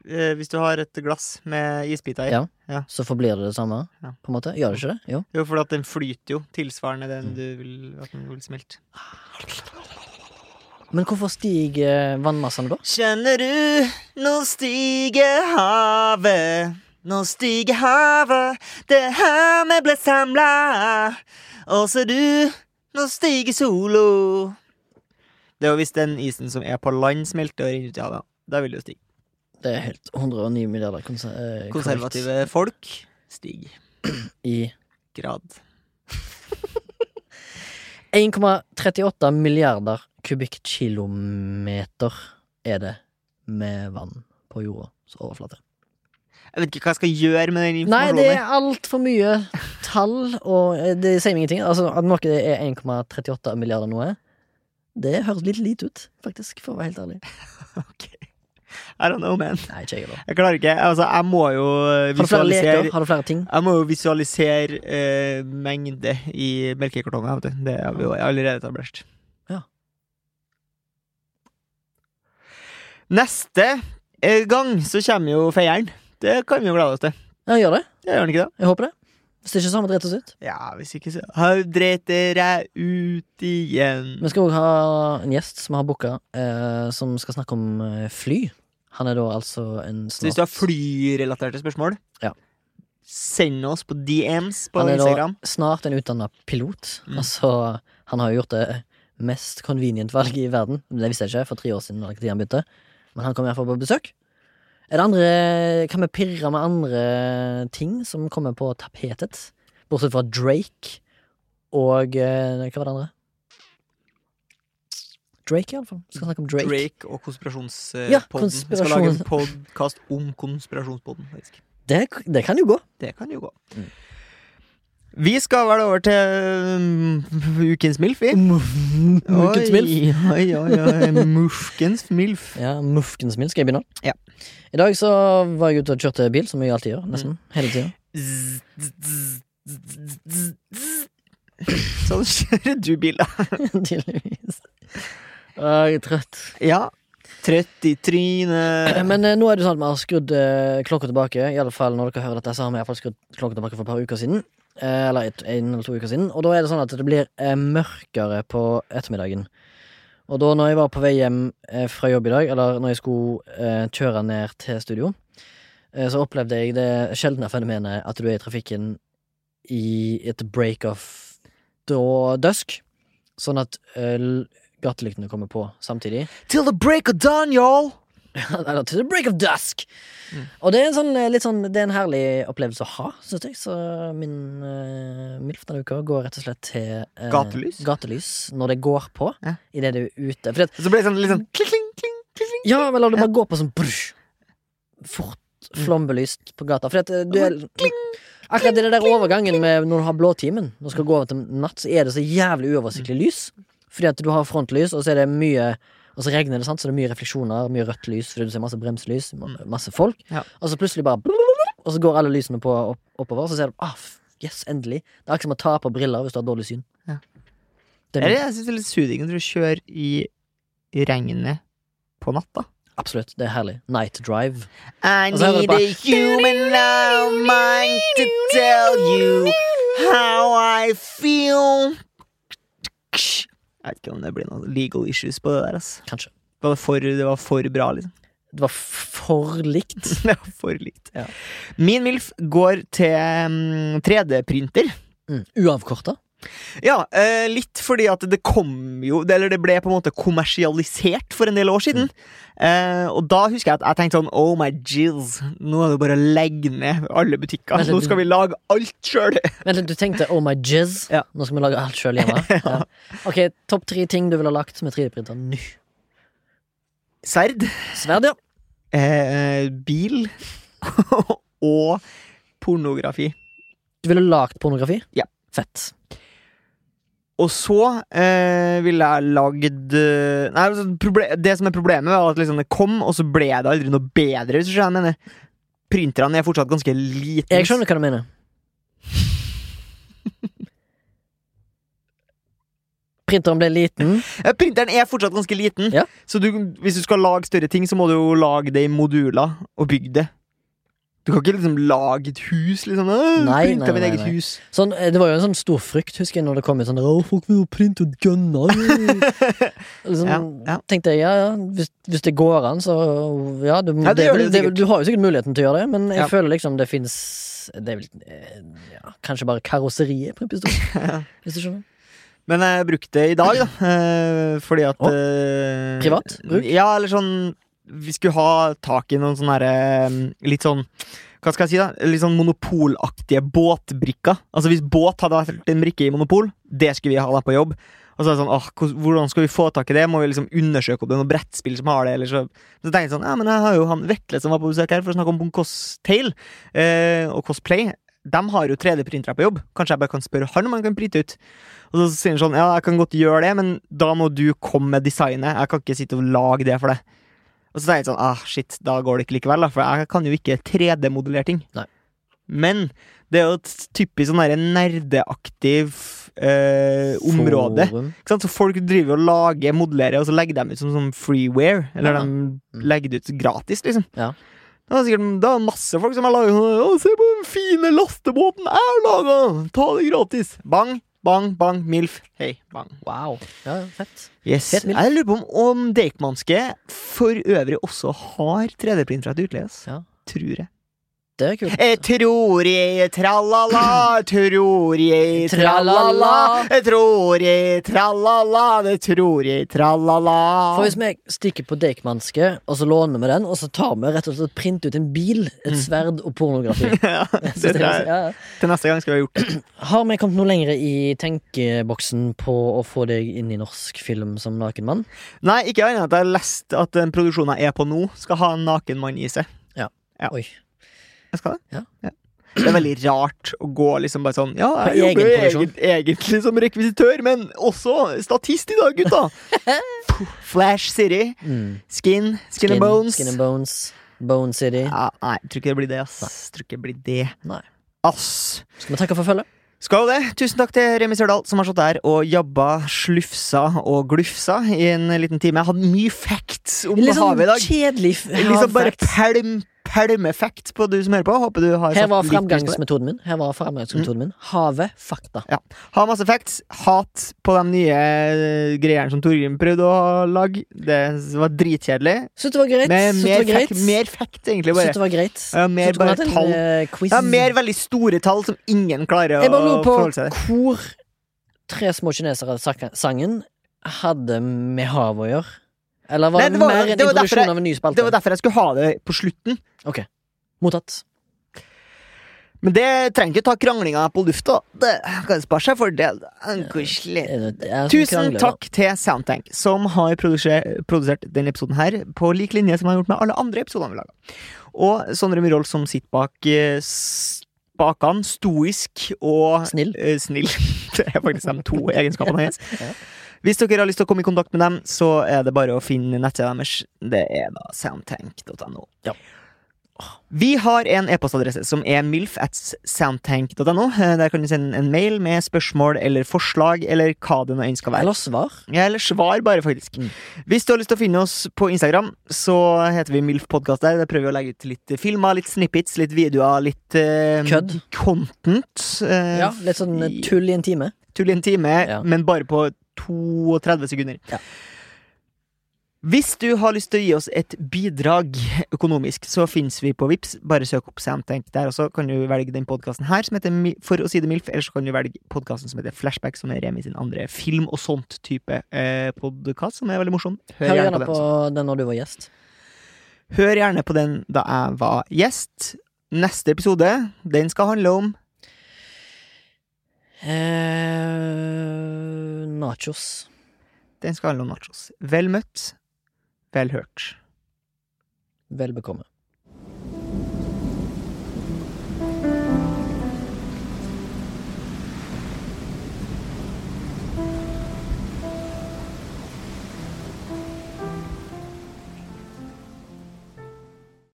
eh, Hvis du har et glass med isbiter i Ja. Så forblir det det samme, Ja. på en måte. Gjør det ikke det? Jo. Jo, for at den flyter jo tilsvarende den du vil at den vil smelte. Men hvorfor stiger eh, vannmassene da? Kjenner du, nå stiger havet. Nå stiger havet, det havet ble samla. Og ser du, nå stiger solo. Det er jo hvis den isen som er på land, smelter og renner ut i havet. Da vil det jo stige. Det er helt 109 milliarder konser eh, korrekt Konservative folk stiger i grad. 1,38 milliarder kubikkilometer er det med vann på jordas overflate. Jeg vet ikke hva jeg skal gjøre med den Nei, det informasjonen. er altfor mye tall, og eh, det sier meg ingenting. Altså, At noe er 1,38 milliarder noe, det høres litt lite ut, faktisk, for å være helt ærlig. I don't know, man. Nei, ikke jeg heller. Jeg klarer ikke. Altså, jeg må jo eh, Har du flere leker? visualisere Har du flere ting? Jeg må jo visualisere eh, mengde i melkekartonger. vet du. Det har vi jo allerede etablert. Ja. Neste eh, gang så kommer jo feieren. Det kan vi jo glede oss til. Ja, gjør det. Det gjør han ikke, da? Jeg håper det. Hvis det ikke er sånn, driter oss ut. Ja, hvis ikke, så Hau dreter jeg ut igjen. Vi skal også ha en gjest som har booka, eh, som skal snakke om eh, fly. Han er da altså en Så hvis du har flyrelaterte spørsmål, Ja. send oss på DMs på Han er da Instagram. snart en utdanna pilot. Mm. Altså, han har jo gjort det mest convenient valget i verden. Det visste jeg ikke for tre år siden, eller hva tid han begynte. men han kommer iallfall på besøk. Er det andre, kan vi pirre med andre ting som kommer på tapetet? Bortsett fra Drake og eh, Hva var det andre? Drake, iallfall. Skal snakke om Drake. Drake, og konspirasjonspodden. Ja, Vi skal lage en konspirasjon. podkast om konspirasjonspodden, faktisk. Det, det kan jo gå. Det kan jo gå. Mm. Vi skal vel over til mm, ukens MILF, vi. Ukens milf. Oi, oi, oi. Muskens MILF. Ja, Muffkens min. Skal jeg begynne? Ja. I dag så var jeg ute og kjørte bil, som jeg alltid gjør. Nesten. Hele tida. Sånn kjører du bil, da. Tydeligvis. Å, Jeg er trøtt. Ja. Trøtt i trynet. Men eh, nå er det sånn at vi har skrudd eh, klokka tilbake. I alle fall når dere hører dette, så har vi i alle fall skrudd klokka tilbake for et par uker siden. Eh, eller et, en eller to uker siden. Og da er det sånn at det blir eh, mørkere på ettermiddagen. Og da når jeg var på vei hjem eh, fra jobb i dag, eller når jeg skulle eh, kjøre ned til studio, eh, så opplevde jeg det sjeldne fenomenet at du er i trafikken i et break of da dusk. Sånn at eh, l- gatelyktene kommer på samtidig. Till the break of dawn, y'all! Eller to the break of dusk. Og det er en sånn, eh, litt sånn Det er en herlig opplevelse å ha, syns jeg. Så min uh, MILF denne uka går rett og slett til eh, Gatelys? gatelys når det går på. Ja. Idet du er ute. Fordi at, Så ble det sånn litt sånn kling, kling, kling, kling. ja, men la det bare gå på sånn brr, fort, Mm. flombelyst på gata. Fordi at eh, du er Akkurat i den der overgangen med når du har blåtimen og skal gå over til natt, så er det så jævlig uoversiktlig Mm. lys. Fordi at du har frontlys, og så er det mye Og så regner det, sant? så det er mye refleksjoner, mye rødt lys, fordi du ser masse bremselys, ma- masse folk. Mm. Ja. Og så plutselig bare Og så går alle lysene på opp, oppover, og så ser du ah, f- yes, endelig. Det er akkurat som å ta på briller hvis du har dårlig syn. Ja. Det er Eller jeg synes det er litt suding når du kjører i i regnet på natta. absolutt. Det er herlig. Night drive. I Og så hører du need a human now mind to tell you how I feel. Jeg vet ikke om det blir noen legal issues på det der, ass. Kanskje. Det var for, det var for bra, liksom. Det var f- for likt. Det var for likt. Ja. Min MILF går til mm, 3D-printer. Mm. Uavkorta. Ja, eh, litt fordi at det kom jo det- Eller det ble på en måte kommersialisert for en del år siden. Eh, og da husker jeg at jeg tenkte sånn Oh my jizz, nå er det bare å legge ned alle butikker. Men det- Nå skal vi lage alt sjøl! Vent litt, du tenkte oh my jizz. Ja. Nå skal vi lage alt sjøl hjemme. Ja. Ok, Topp tre ting du ville ha lagt med 3D-printer nå. Sverd, Sverd, ja. eh, bil og pornografi. Du ville lagd pornografi? Ja. Fett. Og så eh, ville jeg lagd eh, Nei, altså, proble det som er problemet, var at liksom det kom, og så ble det aldri noe bedre. Hvis du skjønner hva jeg mener. Printerne er fortsatt ganske liten. Jeg skjønner hva du mener. Printeren ble liten. Ja, Eh, Printeren er fortsatt ganske liten, Ja. så du, hvis du skal lage større ting, så må du jo lage det i moduler og bygge det. Du kan ikke liksom lage et hus, liksom. «Åh, Nei, Printe nei, mitt nei, eget nei. hus. Sånn, eh, det var jo en sånn stor frykt, husker jeg, når det kom ut sånn Ja, folk vil jo printe og gunne. liksom, Ja, ja. Tenkte jeg, ja, ja, hvis, hvis det går an, så ja du, Ja, det gjør det sikkert. du har jo sikkert muligheten til å gjøre det, men jeg Ja. føler liksom det fins Det er vel eh, ja, kanskje bare karosseriet på en pistol, hvis du skjønner? Men jeg brukte det i dag, da. eh, Fordi at Å. eh, Privat bruk? Ja, eller sånn Vi skulle ha tak i noen sånne herre Litt sånn Hva skal jeg si, da? Litt sånn monopolaktige båtbrikker. Altså Hvis båt hadde vært en brikke i Monopol, det skulle vi ha da på jobb. Og så er det sånn, åh, hvordan- Hvordan skal vi få tak i det? Må vi liksom undersøke om det er noe brettspill som har det? Eller så, så tenkte jeg sånn, ja, men jeg har jo han Vetle som var på besøk her for å snakke om Cosstail eh, og Cosplay. De har jo 3D-printere på jobb. Kanskje jeg bare kan spørre han om han kan printe ut? Og så sier han sånn, ja, jeg kan godt gjøre det, men da må du komme med designet. Jeg kan ikke sitte og lage det for deg. Og så tenker jeg sånn, ah, shit, da går det ikke likevel, da, for jeg kan jo ikke 3D-modellere ting. Nei. Men det er jo et typisk sånn derre nerdeaktiv eh, område. Forum. Ikke sant? Så folk driver og lager, modellerer, og så legger de ut som sånn freeware. Eller Ja. de legger det ut gratis, liksom. Ja. Det er sikkert det er masse folk som har laget sånn «Å, Se på den fine lastebåten jeg har laga! Ta det gratis! Bang, bang, bang. Milf. Hei, bang. Wow. Ja, ja, fett. Yes. Fet Jeg milf. lurer på om, om Deichmanske for øvrig også har 3D-printer til utleie. ass. Ja. Tror jeg. Det er kult. Jeg Eh, tror jeg tralala, tror jeg tralala. Tralala. Jeg tror jeg tralala, det tror jeg tralala. For hvis vi stikker på Deichmanske, og så låner vi den, og så tar vi rett og slett print ut en bil, et sverd og pornografi. ja, Så Mm. det det tror er- liksom, jeg. ja. Til neste gang skal vi ha gjort det. Har vi kommet noe lenger i tenkeboksen på å få deg inn i norsk film som nakenmann? Nei, ikke annet enn at jeg har lest at eh, den produksjonen jeg er på nå, skal ha en naken mann i seg. Oi. Jeg skal det. Ja. Det er veldig rart å gå liksom bare sånn Ja, På jeg egen jobber jo produksjon. egen, egentlig som rekvisitør, men også statist i dag, gutta! Puh, Flash City, Mm. Skin, Skin, and Bones. Skin and Bones. Bone City. Ja, nei, tror ikke det blir det, ass. Tror ikke det blir det. Nei. Ass. Skal vi takke for følget? Skal det. Tusen takk til Remi Sørdal, som har stått der og jabba, slufsa og glufsa i en liten time. Jeg hadde mye facts om Litt sånn havet i dag. kjedelig f- Liksom bare hardfacts. pælm, pælmeffekt på du som hører på. Håper du har Her satt var litt pris på det. Mm. fremgangsmetoden min. Her var fremgangsmetoden min Havet, fakta. Ja. Ha masse facts. Hat på de nye eh, greiene som Torgrim prøvde å lage. Det var dritkjedelig. Syns det var greit. Med Syns det mer, var greit. fact, mer fact, egentlig, Syns bare. det var greit. Ja, Syns mer du kunne bare hatt en, tall. eh, quiz. Ja, mer veldig store tall som ingen klarer Jeg å bare lurer forholde seg til. på hvor Tre små kinesere sak- sangen hadde med havet å gjøre? Eller var Nei, det, det var- mer en det var derfor introduksjon jeg- av en ny Det var spalte? derfor jeg skulle ha det på slutten. Mottatt. Men det trenger ikke ta kranglinga på lufta. Det kan spare seg for det. Koselig. Er det- er det som Tusen krangler, da? takk til Soundtank, som har produsert, produsert denne episoden her på lik linje som han har gjort med alle andre episoder vi laga. Og Sondre Myhrvold, som sitter bak eh, spakene, stoisk og Snill. eh, snill. Det er faktisk de to egenskapene hans. Ja. Hvis dere har lyst til å komme i kontakt med dem, så er det bare å finne nettsida deres. Det er da soundtank.no. Ja. Vi har en e-postadresse som er milf at soundtank.no. Eh, Der kan du sende en mail med spørsmål eller forslag eller hva det nå enn skal være. Eller svar. Ja, eller svar, bare, faktisk. Mm. Hvis du har lyst til å finne oss på Instagram, så heter vi MILF Podcast der. Der prøver vi å legge ut litt filmer, litt snippets, litt videoer, litt eh, Kødd. Content. eh, Ja, litt sånn eh, tull i en time. Tull i en time, Ja. men bare på 32 sekunder. Ja. Hvis du har lyst til å gi oss et bidrag økonomisk, så fins vi på Vips Bare søk opp Samtank der også. Kan du velge den podkasten her, som heter Mi- For å si det mildt, eller så kan du velge podkasten som heter Flashback, som er Remi sin andre film og sånt type eh, podkast, som er veldig morsom. Hør Hør gjerne gjerne på den. på også. den når du var gjest. Hør gjerne på den da jeg var gjest. Neste episode, den skal handle om Eh, nachos. Den skal handle om nachos. Vel møtt. Vel hørt. Vel bekomme.